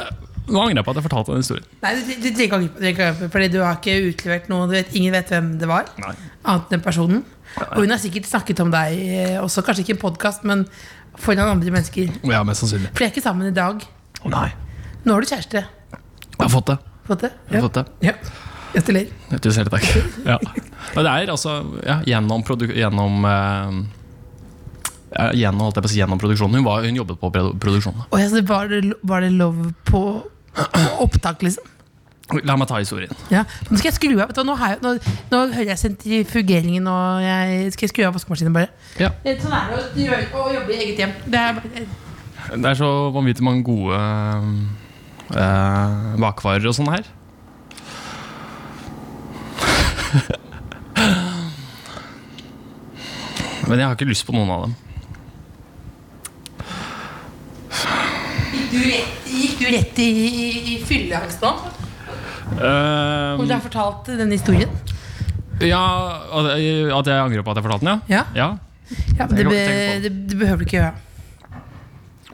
nå angrer jeg på at jeg fortalte den historien.
Nei, du, du trenger ikke angre på- du trenger ikke angre på det, Fordi du har ikke utlevert noe. Du vet, ingen vet hvem det var.
Nei.
Annet enn personen. Og hun har sikkert snakket om deg eh, også. Kanskje ikke i en podkast, men foran andre mennesker.
Ja, mest sannsynlig.
For de er ikke sammen i dag.
Nei.
Nå har du kjæreste.
Jeg har fått det.
Fått det?
Jeg har fått det.
Ja. Gratulerer.
Tusen
[LAUGHS]
hjertelig takk. Ja. Men det er altså ja, gjennom, produ- gjennom eh, ja, Gjennom, holdt jeg på å si, gjennom produksjonen. Hun, var, hun jobbet på produ- produksjonen.
Og jeg, så var, det, var det love på på opptak, liksom?
La meg ta historien.
Ja. Nå skal jeg skru av. Vet du, hva, nå, har jeg, nå, nå hører jeg sentrifugeringen, og jeg skal jeg skru av vaskemaskinen, bare.
Ja.
Eh, Sånn er det å gjøre- å jobbe i eget hjem. Det er, bare-
Det er så vanvittig mange gode eh, bakvarer og sånn her. Men jeg har ikke lyst på noen av dem.
du rett i, i, i fylleangst nå?
Eh,
Hvor du har fortalt denne historien?
ja, at jeg at jeg angrer på at jeg fortalte den,
Ja.
ja? ja.
Ja, men det,
Jeg
be,
tenker på
det, det behøver du ikke gjøre.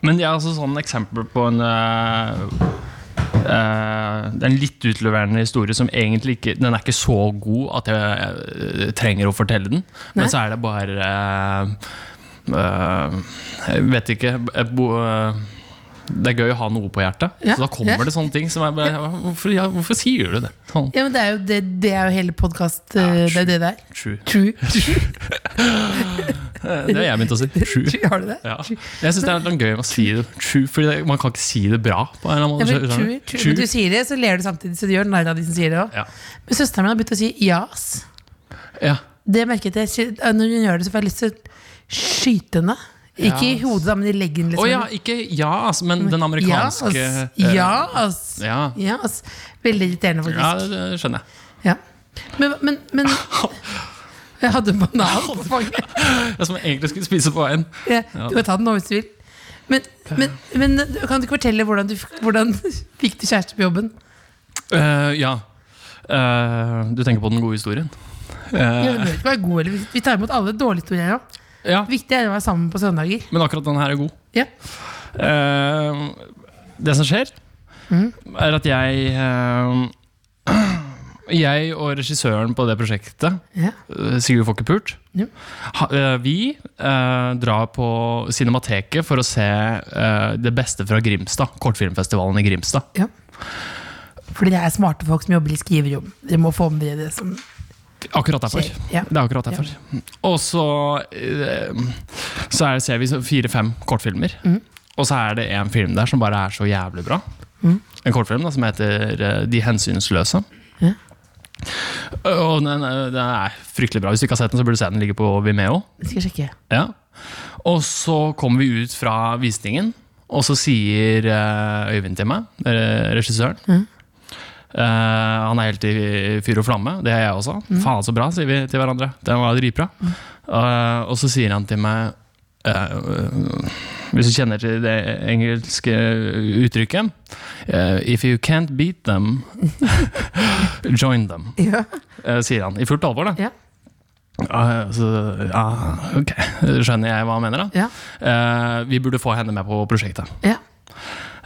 Men det er altså sånn eksempel på en eh, eh, Det er en litt utleverende historie som egentlig ikke Den er ikke så god at jeg eh, trenger å fortelle den. Men så er det bare eh, eh, Jeg vet ikke jeg bo, eh, Det er gøy å ha noe på hjertet.
Ja,
Så da kommer
ja.
det sånne ting som er bare, hvorfor, ja, hvorfor sier du det? Sånn.
Ja, men det er jo, det, det er jo hele podkast. det er jo det det er.
True.
[LAUGHS] True. True.
Eh, Det har jeg begynt å si. True.
[LAUGHS] True. Har du det?
Ja. Jeg syns det er litt gøy å si det true, Fordi det- man kan ikke si det bra. På en eller annen
Ja,
måte.
men, true,
Skjønner du?
true. men du sier det, så ler du samtidig, så du gjør narr av de som sier det òg.
Ja.
Men søsteren min har begynt å si jas.
Ja.
Det merket jeg siden- Når hun gjør det, så får jeg lyst til å skyte henne. Ikke i
Jas.
hodet, da, men i leggen.
Å
Liksom.
ja, ikke ja, altså, men den amerikanske
Jas.
eh,
Jas.
ja.
Jas. Veldig irriterende,
ja,
faktisk.
det skjønner jeg.
Ja. Men, men, [LAUGHS] men Jeg hadde en banan på fanget.
Det er som jeg egentlig skulle spise på veien.
Ja, du kan ta den nå hvis du vil. Men, men, men du- kan du ikke fortelle hvordan du f- hvordan [LAUGHS] fikk du kjæreste på jobben?
Eh, ja. Eh, du tenker på den gode historien?
Ja,
Eh,
det bør ikke være god, eller vi- Vi tar imot alle dårlige historier òg.
ja,
Viktig er å være sammen på søndager.
men akkurat den her er god.
Ja.
Eh, det som skjer, er at jeg eh, [CLEARS THROAT] Jeg og regissøren på det prosjektet,
Ja.
eh, Sigurd Fokkepult,
Ja.
ha- eh, vi eh, drar på Cinemateket for å se eh, det beste fra Grimstad. Kortfilmfestivalen i Grimstad.
Ja. Fordi det er smarte folk som jobber i skrivejobb. Dere må få med dere det som
Akkurat derfor.
skjer. Ja.
Det er akkurat derfor. Og så, eh, så er det, ser vi så fire-fem kortfilmer.
Mm.
Og så er det en film der som bare er så jævlig bra.
Mm.
En kortfilm da, som heter eh, De hensynsløse.
Ja.
Og den, er- den er fryktelig bra. Hvis du ikke har sett den, så burde du se den ligger på Vimeo.
Det skal jeg sjekke.
Ja. Og så kommer vi ut fra visningen, og så sier eh, Øyvind til meg, eh, regissøren eh, Han er helt i fyr og flamme, det er jeg også. Faen så bra, sier vi til hverandre. Den var dritbra. Eh, og så sier han til meg eh, Hvis du kjenner til det engelske uttrykket eh, If you can't beat them, [LAUGHS] join them,
Ja.
eh, sier han. I fullt alvor, da.
Ja.
Ja, så, ja, ok. Skjønner jeg hva han mener, da?
Ja.
Eh, vi burde få henne med på prosjektet.
ja.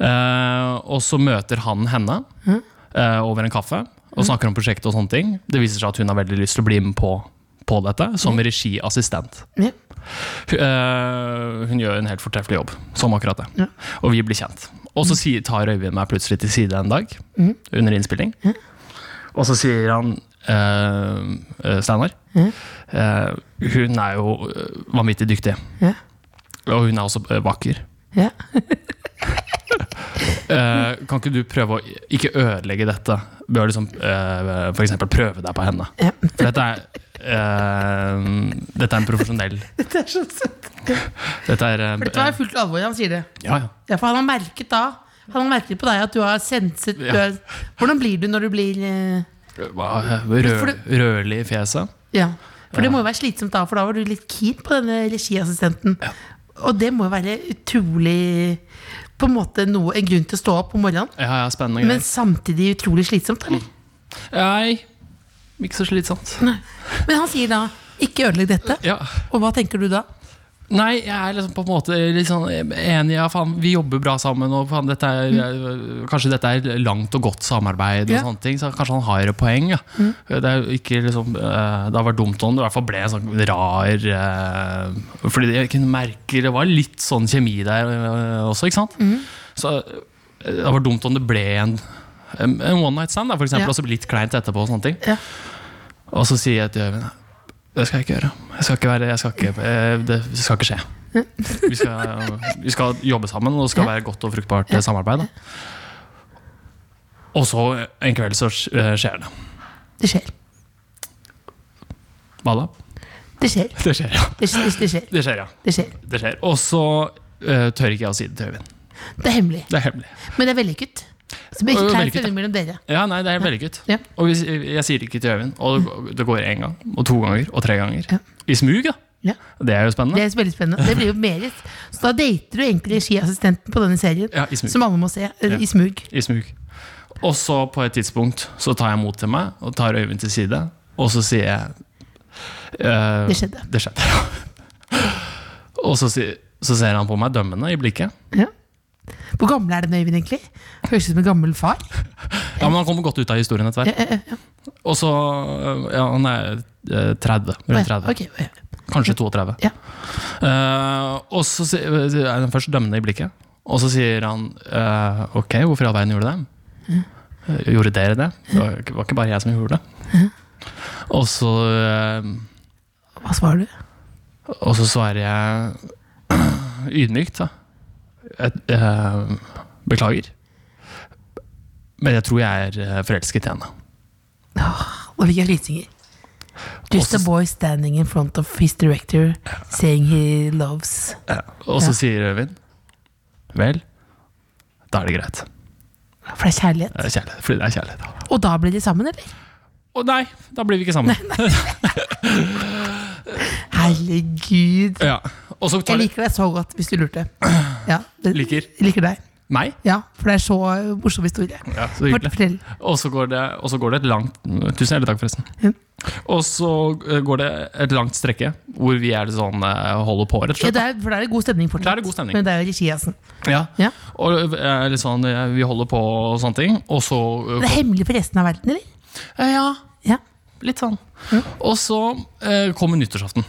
Eh, og så møter han henne
Mm.
eh, over en kaffe og snakker om prosjektet. og sånne ting. Det viser seg at hun har veldig lyst til å bli med på, på dette som
Mm.
regiassistent.
ja.
Hun, eh, hun gjør en helt fortreffelig jobb, som akkurat det.
Ja.
Og vi blir kjent. Og så sier- tar Øyvind meg plutselig til side en dag
Mm.
under innspilling. Og så sier han eh, eh, Steinar, eh, hun er jo eh, vanvittig dyktig.
Ja.
Og hun er også eh, vakker.
ja.
Eh, kan ikke du prøve å ikke ødelegge dette ved å liksom, eh, for eksempel prøve deg på henne?
Ja.
For dette er, eh, dette er en profesjonell
[LAUGHS] Det er så søtt.
Dette er eh,
For dette var i fullt alvor han sier det.
ja, ja.
Ja, for han har merket da Han har merket på deg at du har senset du
Ja.
er, Hvordan blir du når du blir eh,
Hva, Rød,
For
rødlig i fjeset.
Ja, for det må jo være slitsomt da For da var du litt keen på denne regiassistenten Og det må jo være utrolig På en måte noe, en grunn til å stå opp om morgenen
Ja, ja, Mm. spennende
Men
greier.
samtidig utrolig slitsomt, eller?
Nei, ikke så slitsomt.
Men han sier da, ikke ødelegg dette
Ja.
Og hva tenker du da?
Nei, jeg er liksom på en måte litt sånn enig. Ja, faen, vi jobber bra sammen, og faen, dette er, eh, kanskje dette er langt og godt samarbeid. Og
Mm. Ja. Mm.
sånne ting, så kanskje han har et poeng. Ja. Det, er jo ikke liksom, eh, det har vært dumt om det i hvert fall ble en sånn rar eh, Fordi jeg kunne merke det var litt sånn kjemi der eh, også, ikke sant?
Mm.
Så eh, det hadde vært dumt om det ble en, en one night stand, da, for eksempel,
Ja.
og så litt kleint etterpå. og sånne ting
Ja.
og så sier jeg til Øyvind Det skal jeg ikke gjøre. Jeg skal ikke være, jeg skal ikke, eh, det skal ikke skje. Vi skal, vi skal jobbe sammen, og det skal være godt og fruktbart eh, samarbeid. Da. Og så en kveld så sk- eh, skjer det.
Det skjer,
Hva da?
det skjer,
Det skjer, ja.
det skjer, det skjer,
Det skjer, ja.
det skjer
Det skjer. Og så eh, tør ikke jeg å si det til Øyvind.
Det er hemmelig,
Det er hemmelig.
men det er vellykket Så blir
Og
ikke kleint
vellykket,
for
ja.
mellom dere
Ja, nei, det er vellykket.
Ja.
Og hvis, jeg sier det ikke til Øyvind. Og det, det går én gang, og to ganger, og tre ganger. I smug, da.
Ja.
Det er jo
Det
spennende.
er veldig spennende. Det blir jo merit. Så da dater du egentlig regiassistenten på denne serien,
Ja, i smug.
som alle må se, eh, i smug.
I smug. Og så på et tidspunkt så tar jeg mot til meg og tar Øyvind til side, og så sier jeg eh,
Det skjedde.
Det skjedde. og så, sier- så ser han på meg dømmende i blikket.
Ja. Hvor gammel er den Øyvind egentlig? Høres ut som en gammel far. Eh,
Ja, Men han kommer godt ut av historien etter hvert. Og så Ja, han er eh, 30. Rundt 30.
Ok, ja.
Kanskje 32.
Ja.
Eh, og så si- er han først dømmende i blikket, og så sier han eh, Ok, hvorfor i all verden gjorde du det?
Mm.
Eh, Gjorde dere det? Det var, ikke- var ikke bare jeg som gjorde det.
Mm.
Og så eh,
Hva svarer du?
Og så svarer jeg [CLEARS THROAT] ydmykt, da. Et, eh, beklager. Men jeg tror jeg er eh, forelsket i henne.
Og hvilke lydsinger? Just
Også-
a boy standing in front of his director saying he loves
Og så
Ja.
sier Øyvind Vel, da er det greit.
For det er
Det
kjærlighet.
er kjærlighet. Fordi det er kjærlighet.
Og da blir de sammen, eller?
Å nei, da blir vi ikke sammen.
Herregud.
Ja. Og så
Jeg
tar
liker deg så godt, hvis du lurte. Ja, det,
Liker.
liker deg.
meg.
Ja, for det er så morsom historie.
Ja, så hyggelig.
Fortell.
Og så går, det- og så går det et langt Tusen hjertelig takk, forresten.
Ja.
Og så eh, går det et langt strekke hvor vi er litt sånn eh, holder på, rett og
Ja,
slett.
det er, for det er god stemning fortsatt.
Der er det god stemning.
Men det er jo regiassen.
Ja.
Ja.
Og eh, litt sånn eh, vi holder på og sånne ting. Og så
Det er hemmelig for resten av verden, eller?
eh, Ja,
Ja.
litt sånn. Og så eh, kommer nyttårsaften.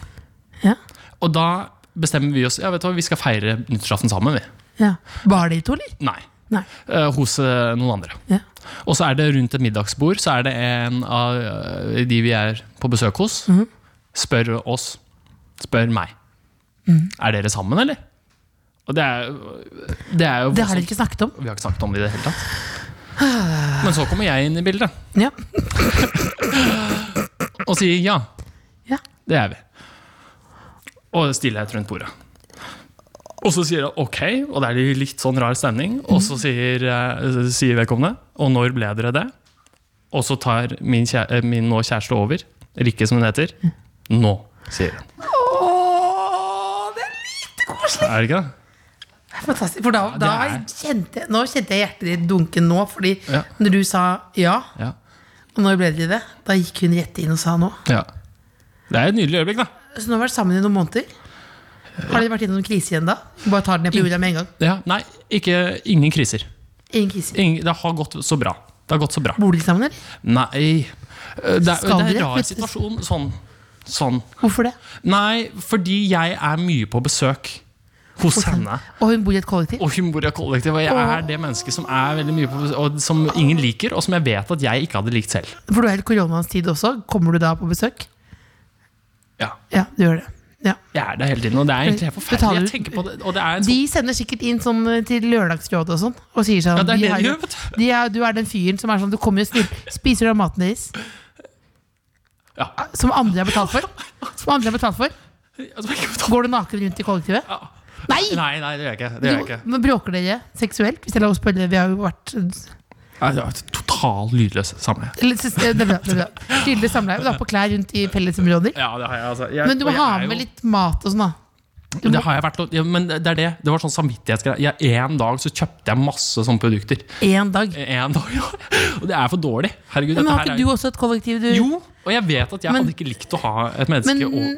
ja. Og,
Og da bestemmer vi oss Ja, vet du hva, vi skal feire nyttårsaften sammen, vi.
ja. Var dere to, eller?
Nei.
Nei.
Eh, hos eh, noen andre.
Ja.
Og så er det rundt et middagsbord, så er det en av eh, de vi er på besøk hos, spør oss, spør meg. Er dere sammen, eller? Og det er, det er jo
Det har dere ikke snakket om?
Vi har ikke snakket om det i det hele tatt. Men så kommer jeg inn i bildet
Ja.
og sier ja,
ja.
det er vi. Og stillhet rundt bordet. Og så sier han ok, og det er litt sånn rar stemning. Og så sier, eh, sier vedkommende og når ble dere det? Og så tar min, kjæ eh, min nå kjæreste over. Rikke, som hun heter. Nå, sier hun.
Åh, det er lite koselig!
Er det ikke det?
Fantastisk. For da, da
Ja, det
kjente jeg, nå kjente jeg hjertet ditt dunke nå, fordi
Ja.
når du sa ja,
Ja.
og når ble dere det, da gikk hun rett inn og sa nå.
ja. Det er et nydelig øyeblikk, da.
Så nå har vi vært sammen i noen måneder. Har dere vært i noen krise igjen da? Bare tar den ned på jorda med en gang.
Ja, nei, ikke, ingen kriser.
Ingen krise.
Ingen, det har gått så bra. Det har gått så bra.
Bor dere sammen, eller?
Nei eh, Det er, det
Skal
er en
dere?
rar situasjon. Sånn. sånn.
Hvorfor det?
Nei, fordi jeg er mye på besøk hos henne.
Og hun bor i et kollektiv?
Og hun bor i et kollektiv, og jeg er det mennesket som er veldig mye på besøk, og som ingen liker, og som jeg vet at jeg ikke hadde likt selv.
For du er i koronaens tid også. Kommer du da på besøk?
Ja,
Ja, du gjør det. Ja.
Jeg er der hele tiden, og det er egentlig helt
Betaler
forferdelig.
du-
Jeg tenker på det, og det er en
De
sånn
sender sikkert inn sånn eh, til lørdagsrådet og sånn. Og sier sånn
Ja, det er
vi
det
har
de
jo-
gjør, vet
[LAUGHS] de er, Du er den fyren som er sånn Du kommer jo snill Spiser du av maten deres?
Ja.
Som andre har betalt for? Som andre har betalt for? Går du naken rundt i kollektivet? Nei!
Nei, nei, det gjør jeg ikke. Det gjør jeg ikke.
Jo, men bråker dere seksuelt? Hvis jeg lar oss spørre Vi har jo vært Eller
Nei, det er Altså, et Total lydløs samleie.
siste- det er bra, det er bra. Tydelig samleie. Du har på klær rundt i fellesområder.
Ja, det har jeg, altså. Jeg-
Men du må
og jeg
ha
er jo-
med litt mat og sånn, da.
Det har jeg vært, og- ja, men det er det. Det var sånn samvittighetsgreier. Ja, en dag så kjøpte jeg masse sånne produkter.
Én dag.
En dag, ja. Og det er for dårlig. Herregud,
Men
dette
har
her
ikke
er
du også et kollektiv? Du?
Jo, og jeg vet at jeg
Men-
hadde ikke likt å ha et menneske
Men-
å- å-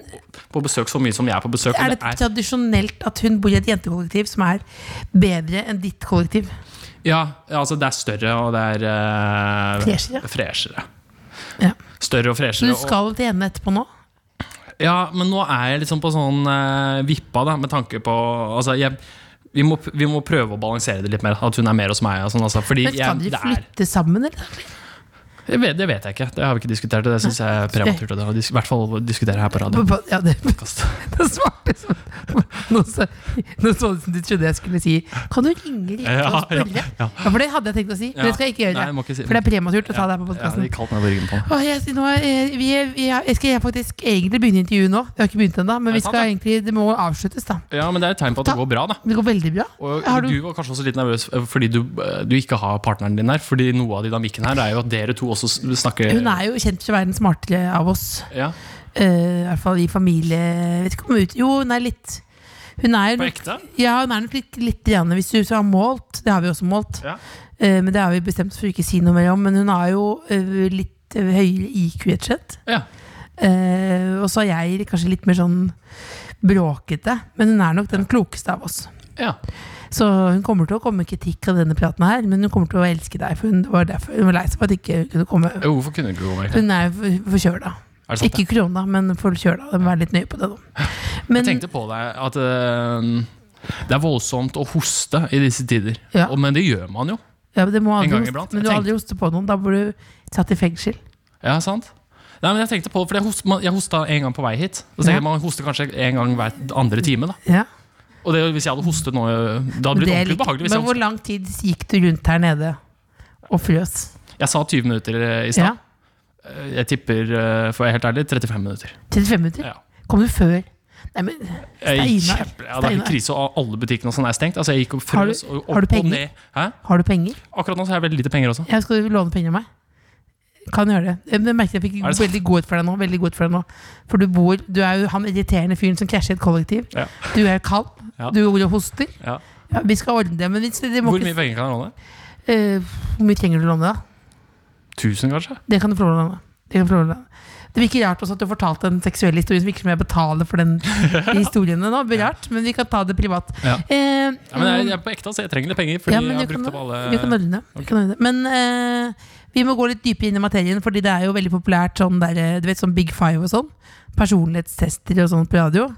på besøk så mye som jeg er på besøk. og
Er det
det er-
tradisjonelt at hun bor i et jentekollektiv som er bedre enn ditt kollektiv?
Ja, ja, altså det er større og det er eh,
Freshere.
freshere.
Ja.
Større og
Så
freshere.
du skal til henne etterpå nå?
Og, ja, men nå er jeg liksom på sånn eh, vippa, da, med tanke på Altså, jeg vi må, vi må prøve å balansere det litt mer. At hun er mer hos meg. Og sånn, altså. Fordi
Men skal dere
jeg, det, er,
flytte sammen, eller?
det, vet, det vet jeg ikke. Det har vi ikke diskutert. og Det syns jeg er prematurt. og det har dis- I hvert fall å diskutere her på radio.
Ja, det, [LAUGHS] det svarte som [LAUGHS] Nå så nå så det ut som du trodde jeg skulle si Kan du ringe Rikke
Ja,
og spørre?
ja, ja.
Ja, for det hadde jeg tenkt å si, men det skal jeg ikke gjøre.
Nei, jeg må ikke si-
for det er prematurt å ta det her på
Ja,
podkasten.
de kalte meg på ryggen på den.
Åh, jeg, nå, eh, vi, vi, jeg skal faktisk egentlig begynne intervjuet nå. Vi har ikke begynt ennå, men
Er
vi
det
skal
sant,
egentlig, det må avsluttes, da.
Ja, men det er et tegn på at det
Ta-
går bra, da.
Det går veldig bra.
Og
Har
du... var kanskje også litt nervøs eh, fordi du, eh, du ikke har partneren din her. Fordi noe av dynamikken her er jo at dere to også s- snakker
Hun er jo kjent for å være den smartere av oss.
ja.
eh, i hvert fall i familie... Jeg vet ikke om hun ut... Jo, nei, litt. Hun er jo
På
nok-
ekte?
Ja, hun er nok litt, litt grann, hvis du har målt. Det har vi også målt.
Ja.
Eh, men det har vi bestemt oss for ikke å si noe mer om. Men hun har jo eh, litt eh, høyere IQ, rett og slett.
ja.
Eh, og så er jeg kanskje litt mer sånn bråkete. Men hun er nok den klokeste av oss.
ja.
Så hun kommer til å komme med kritikk av denne praten her, men hun kommer til å elske deg. For hun var, derfor, hun var lei seg for at ikke hun kunne komme.
Jo, Eh, Hvorfor kunne du ikke gå med?
Hun er for- forkjøla.
Er det sant?
Ikke korona, men forkjøla. Du må være litt nøye på det nå. Men
Jeg tenkte på deg at eh, det er voldsomt å hoste i disse tider.
Ja.
Og, men det gjør man jo.
ja, men det må aldri,
en gang
hoste-
iblant.
Men
Jeg
du har aldri hoste på noen. Da blir du satt i fengsel.
Ja, sant? Nei, men Jeg tenkte på det, for jeg, host, man, jeg hosta en gang på vei hit. Da tenker
Ja.
jeg Man hoster kanskje en gang hver andre time. da
Ja.
Og det, Hvis jeg hadde hostet nå
Det
Det hadde blitt
er
ordentlig
litt-
behagelig. Hvis
men
jeg,
hvor lang tid gikk du rundt her nede og frøs?
hostet. jeg sa 20 minutter eh, i
Ja,
stad. Jeg tipper, eh, for å være helt ærlig, 35 minutter.
35 minutter?
Ja.
Kom du før? Nei, men
Jeg gikk
Steinar,
kjempe, ja, det er
Steinar.
helt krise, og alle butikkene og sånn er stengt. Altså, jeg gikk og
Har du-
frøs og
har du
opp og
penger?
ned. Hæ?
Har du penger?
Akkurat nå så har jeg veldig lite penger også.
Jeg skal du låne penger av meg? Kan gjøre det. Men Jeg merket jeg fikk
Er det sant?
veldig godhet for deg nå. Veldig godhet for deg nå For du bor Du er jo han irriterende fyren som krasjer i et kollektiv.
Ja.
Du er kalm.
Ja.
Du går og hoster.
Ja.
Ja, vi skal ordne det. Men hvis det må
Hvor mye
ikke,
penger kan jeg låne?
Eh, hvor mye trenger du å låne, da?
1000, kanskje?
Det kan du få låne. av meg. Det kan du få låne. av meg. Det virker rart også at du fortalte en seksuell historie som virker som jeg betaler
[LAUGHS]
for den historien nå. Det blir Rart, men vi kan ta det privat.
Ja.
Eh,
Ja, men jeg, jeg er på ekte, så jeg trenger litt penger. Fordi
Ja, men
jeg
vi
har brukt
kan-
opp alle
Vi kan ordne det. Vi kan ordne det. Men eh, vi må gå litt dypere inn i materien, fordi det er jo veldig populært sånn der, eh, du vet, sånn Big Five og sånn. Personlighetstester og sånn på radio.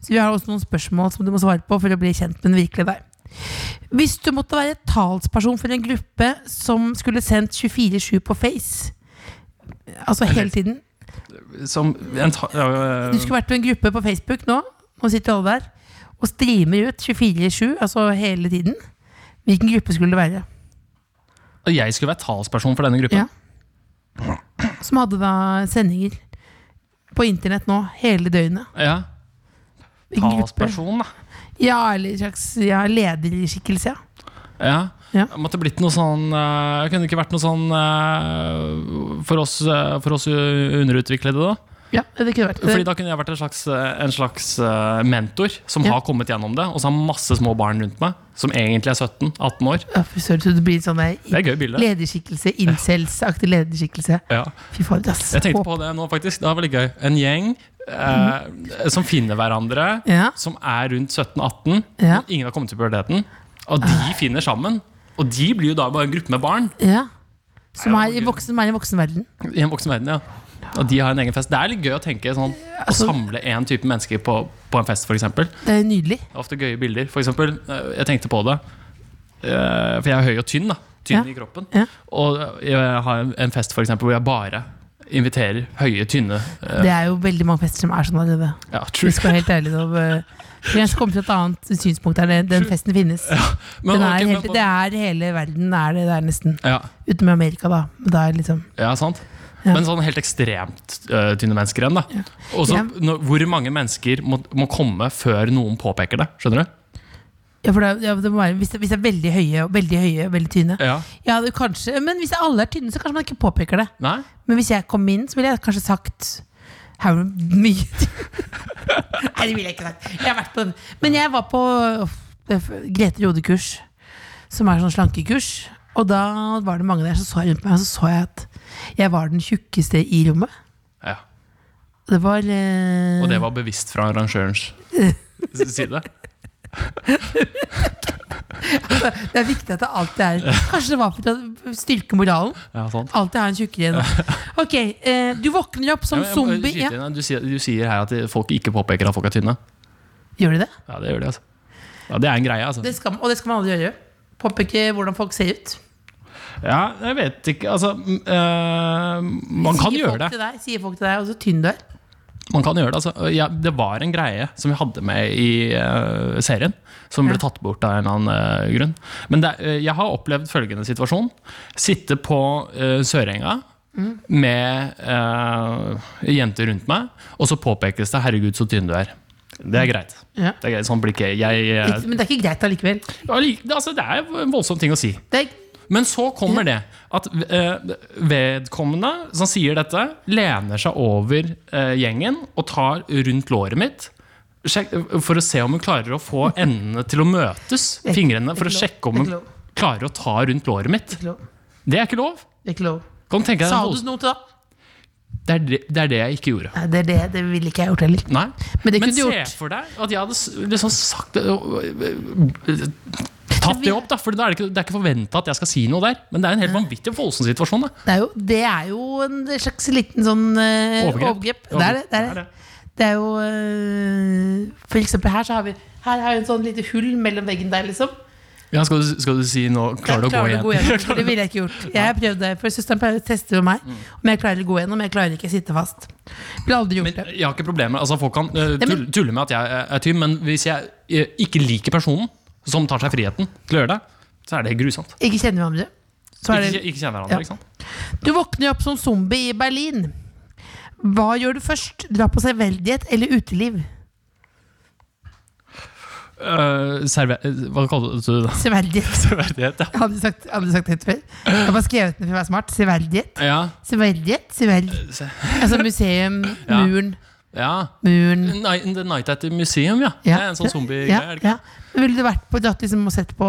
Så vi har også noen spørsmål som du må svare på for å bli kjent med den virkelige deg. Hvis du måtte være talsperson for en gruppe som skulle sendt 24-7 på Face, altså hele tiden
Som en ta, ja, øh,
Du skulle vært på en gruppe på Facebook nå, nå sitter alle der, og streamer ut 24-7, altså hele tiden. Hvilken gruppe skulle det være?
at Jeg skulle være talsperson for denne gruppa.
Ja. Som hadde da sendinger på internett nå, hele døgnet.
Ja.
Hvilken gruppe?
Talsperson, da.
Ja, eller en slags ja, lederskikkelse. ja.
Ja.
Ja.
Jeg måtte blitt noe sånn øh, Kunne det ikke vært noe sånn øh, for, oss, øh, for oss underutviklede, da?
Ja, det kunne vært
Fordi
det.
da kunne jeg vært en slags, en slags eh, mentor som
Ja.
har kommet gjennom det, og så har masse små barn rundt meg, som egentlig er 17-18 år.
Ja, fy søren, så det blir en sånn der
Det er et gøy bilde.
lederskikkelse, incels-aktig lederskikkelse.
Ja.
Fy fader, ass.
Jeg tenkte på det nå, faktisk. Det var veldig gøy. En gjeng eh, som finner hverandre,
Ja.
som er rundt 17-18.
Ja. Ah.
Ingen har kommet til puberteten. Og de finner sammen. Og de blir jo da bare en gruppe med barn
Ja. Som
Nei,
er i
det var gøy.
voksen, som er i voksenverden.
i en voksen verden. ja. Og de har en egen fest. Det er litt gøy å tenke sånn, å
altså-
samle én type mennesker på, på en fest, f.eks.
Det er nydelig.
Det er ofte gøye bilder. For eksempel, eh, jeg tenkte på det eh, For jeg er høy og tynn. da
Ja.
Tynn i kroppen.
Ja.
Og jeg har en fest for eksempel, hvor jeg bare inviterer høye, tynne eh,
Det er jo veldig mange fester som er sånn allerede.
ja,
Vi
true.
skal være helt ærlige nå. eh, Jeg skal komme til et annet synspunkt her. Den festen finnes.
Men,
Den er
ok, men-
helt, det er hele verden, er det der nesten.
ja,
Utenom i Amerika, da. Men da er det liksom
ja, sant?
Ja.
Men sånn helt ekstremt eh, tynne mennesker igjen. da Og så
Ja.
når- Hvor mange mennesker må, må komme før noen påpeker det? Skjønner du?
Ja, for det, er- ja, det må være, hvis, det, hvis det er veldig høye og veldig høye og veldig tynne
Ja.
Ja, det kanskje, Men hvis alle er tynne, så kanskje man ikke påpeker det.
Nei?
Men hvis jeg kom inn, så ville jeg kanskje sagt Her er det mye [LAUGHS] tynn». Nei, det ville jeg ikke sagt. Jeg har vært på den. Men jeg var på uff, det er Grete Rode-kurs, som er sånn slankekurs. Og da var det mange der som så rundt meg, og så så jeg at jeg var den tjukkeste i rommet.
Ja.
Det var eh,
Og det var bevisst fra
[LAUGHS]
arrangørens side?
Det er viktig at det alltid
[LAUGHS]
er Kanskje det var for å styrke moralen?
Ja, sant?
Alltid ha en tjukkere nå. Ok, eh, du våkner opp som
Ja, men jeg må
zombie.
skyte
Ja.
inn her. Du, sier, du sier her at folk ikke påpeker at folk er tynne.
Gjør du det?
Ja, det gjør de, altså. Ja, det er en greie, altså.
det skal, og det skal man aldri gjøre. Påpeke hvordan folk ser ut.
Ja, jeg vet ikke, altså mm, eh, Man
sier
kan
folk
gjøre det.
Til deg, sier folk til deg, og så tynn du er.
Man kan gjøre det, altså. ja, det var en greie som vi hadde med i eh, serien, som ble
Ja.
tatt bort av en eller annen eh, grunn. Men det, er- eh, jeg har opplevd følgende situasjon. Sitte på eh, Sørenga
Mm.
med eh, jenter rundt meg, og så påpekes det 'herregud, så tynn du er'. Det er greit.
Mm. Ja.
Det er greit. Sånn blir ikke jeg, jeg eh,
Ikke- Men det er ikke greit allikevel.
Ja, like- det- Altså, det er en voldsom ting å si.
Det er,
Men så kommer det at eh, vedkommende som sier dette, lener seg over eh, gjengen og tar rundt låret mitt. Sjekk, for å se om hun klarer
[LAUGHS]
å få endene til å møtes.
Ikke-
Fingrene. For å
ikke lov,
sjekke om
ikke
hun
lov.
klarer å ta rundt låret mitt.
Ikke lov.
Det er ikke lov.
Ikke lov.
Kan du tenke deg
Sa
den
du noe til det?
det er det, det er det jeg ikke gjorde.
Nei, det, er det, det ville ikke jeg gjort heller.
Nei.
Men det kunne
se
du gjort.
for deg at jeg hadde s- liksom sagt det, og- øh, Tatt det opp, da. For da er det ikke, det er ikke forventa at jeg skal si noe der. Men det er en helt vanvittig voldsom situasjon. Da.
Det er jo, det er jo en slags liten sånn eh,
Overgrep.
overgrep. Det er det. Det er, det. Det er jo eh, For eksempel her så har vi Her har vi en sånn lite hull mellom veggen der, liksom.
Ja, skal, du, skal du si nå Klarer du å gå
Klarer
igjen? [LAUGHS]
Det ville jeg ikke gjort. Jeg prøvde, for Søsteren pleier å teste med meg
Mm.
om jeg klarer å gå gjennom. Jeg klarer ikke å sitte fast. Ville aldri gjort det.
Jeg har ikke problemer altså Folk kan øh,
Nei, men-
tull- tulle med at jeg eh, er tynn, men hvis jeg øh, ikke liker personen som tar seg friheten til å gjøre det, så er det grusomt.
Ikke kjenner hverandre. Så er
Ikke,
det,
ikke kjenne
Ja.
hverandre, ikke sant?
du våkner jo opp som zombie i Berlin. Hva gjør du først? Dra på selvveldighet eller uteliv?
Øh, serve, øh, hva kaller du det? [LAUGHS]
Severdighet. [LAUGHS]
Severdighet, ja.
Jeg hadde sagt, jeg hadde sagt det før. Jeg har bare skrevet den for å være smart. Severdighet.
Ja.
Severdighet. Severdighet. Altså museum,
Eh, Ja. Mm.
muren,
ja.
muren.
Nei, The Night at the Museum, ja. Det er en sånn zombie-greie.
Ja,
er det ikke?
ja. Ville du vært på dratt liksom, og sett på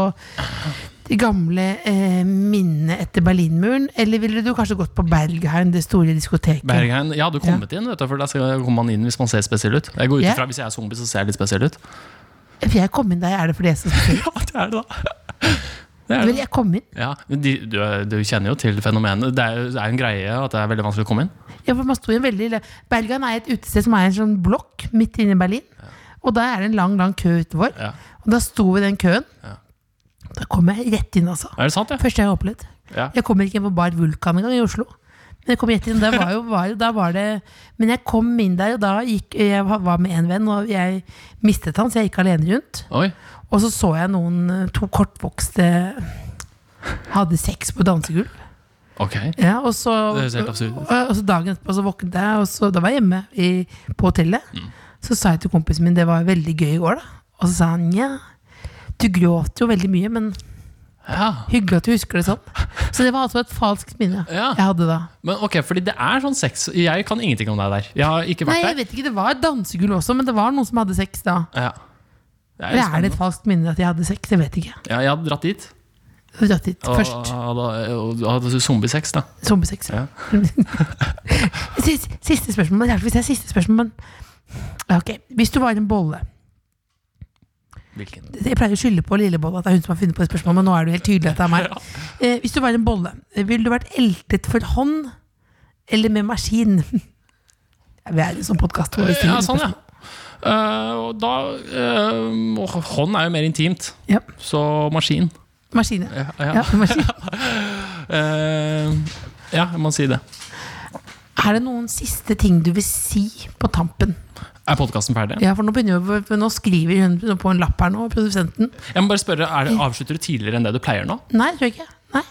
de gamle eh, minnene etter Berlinmuren? Eller ville du kanskje gått på Bergheim, det store diskoteket?
Bergheim, jeg hadde kommet inn, vet du, for der skal- kommer man inn hvis man ser spesiell ut. Jeg går ut
Ja.
ifra, Hvis jeg er zombie, så ser jeg litt spesiell ut.
For jeg kom inn der, er det fordi jeg er så spesiell?
Ja, det er det, da. Det er
Vil
det.
jeg komme inn?
Ja, men de, du, du kjenner jo til fenomenet. Det er jo det er jo en greie at det er veldig vanskelig å komme inn.
Ja, for man sto i en veldig Bergheim er et utested som er en sånn blokk midt inne i Berlin. Og da er det en lang, lang kø utenfor.
Ja.
Og da sto vi i den køen. Da kom jeg rett inn, altså.
Er det sant, ja?
Første jeg har opplevd.
Ja.
Jeg kommer ikke inn på Bar Vulkan engang i Oslo. Men jeg kom rett inn, der var jo, var, jo- da var det Men jeg kom inn der, og da gikk Jeg var med en venn, og jeg mistet han, så jeg gikk alene rundt.
Oi.
Og så så jeg noen eh, to kortvokste hadde sex på dansegulv.
Ok.
Ja, og så,
Det høres helt absurd ut.
og, og så dagen etterpå så våknet jeg, og så, da var jeg hjemme i, på hotellet.
Mm.
Så sa jeg til kompisen min det var veldig gøy i går, da. Og så sa han ja, du gråt jo veldig mye, men
Ja.
hyggelig at du husker det sånn. Så det var altså et falskt minne
Ja.
jeg hadde da.
Men ok, fordi det er sånn sex Jeg kan ingenting om deg der. Jeg har ikke
Nei,
vært
jeg
der.
vet ikke, det var et dansegulv også, men det var noen som hadde sex da.
Ja. Det er jo
Eller er det
spennende.
et falskt minne at jeg hadde sex? Jeg vet ikke.
ja, jeg hadde dratt dit.
Så dratt dit
Og
først.
hadde- og hadde zombiesex, da.
Zombiesex. [LAUGHS]
Ja.
Siste, siste spørsmål. Det er kanskje hvis det er siste spørsmål, men Ja, Ok, Hvis du var en bolle
Hvilken?
Jeg pleier å skylde på Lillebolla, at det er hun som har funnet på det spørsmålet, men nå er det jo helt tydelig at det er
[LAUGHS]
meg. Eh, hvis du var en bolle, ville du vært eltet for hånd eller med maskin? [LAUGHS] Vi er i en sånn podkast hvor vi stiller
Ja, sånn, ja.
spørsmål.
Eh, og da eh, åh, Hånd er jo mer intimt,
Ja,
så maskin.
Maskin, ja.
Ja, ja.
ja. maskin.
Eh, ja jeg må si det.
Er det noen siste ting du vil si på tampen?
Er podkasten ferdig?
Ja, for nå, begynner vi, for nå skriver hun på en lapp her nå, produsenten.
Jeg må bare spørre, er det, Avslutter du tidligere enn det du pleier nå?
Nei, tror jeg ikke. Nei.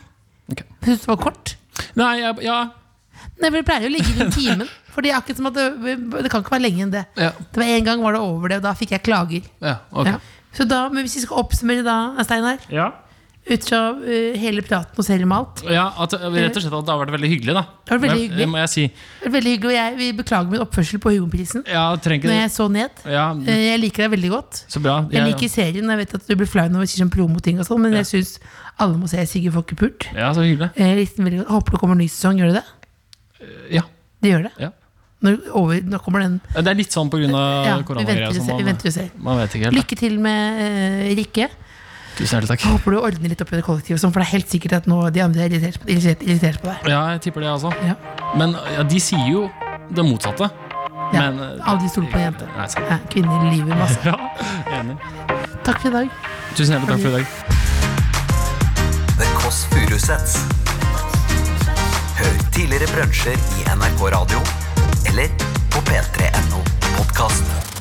Ok.
Syns du det var kort?
Nei, jeg, ja,
Nei, for Det pleier jo å ligge rundt timen. For det er akkurat som at det, det kan ikke være lenger enn det.
ja,
Det var En gang var det over det, og da fikk jeg klager.
ja, ok.
Ja. Så da, men Hvis vi skal oppsummere da, Steinar,
Ja.
ut fra eh, hele praten og selv med alt
at, rett og slett at det har vært veldig hyggelig, da.
Det har vært veldig
Men- eh,
hyggelig.
Må jeg si.
Det var Veldig hyggelig, og jeg vil beklage min oppførsel på Hugo-prisen.
Ja, trenger
Når
ikke
jeg så ned.
Ja,
Eh, Jeg liker deg veldig godt.
så bra.
Jeg
Ja,
liker serien. og Jeg vet at du blir flau når vi sier sånn promoting, og sånn, men jeg syns alle må se Sigurd Fokkepult.
ja, så hyggelig.
Jeg likte den veldig godt. Håper det kommer en ny sesong. Gjør det det?
Ja.
Det gjør det.
ja.
Når, over, nå kommer den.
Det er litt sånn på grunn av
Ja, vi venter
koronagreier.
og
som
ser. Vi
man-
venter og ser.
Man vet ikke helt.
Lykke til med eh, Rikke.
da. Tusen hjertelig takk.
Håper du ordner litt opp i det kollektivet, og sånn, for det er helt sikkert at nå de andre er irritert, på- irritert, irritert på deg.
Ja, jeg tipper det, altså.
Ja.
Men ja, de sier jo det motsatte.
Ja.
Men eh,
Aldri stol på en jente.
Nei, sant.
Ja, Kvinner lyver masse.
[LAUGHS] Ja, enig.
Takk for i dag.
Tusen hjertelig takk for i dag.
The Kåss Furuseths. Hør tidligere brunsjer i NRK Radio eller på p3.no podkast.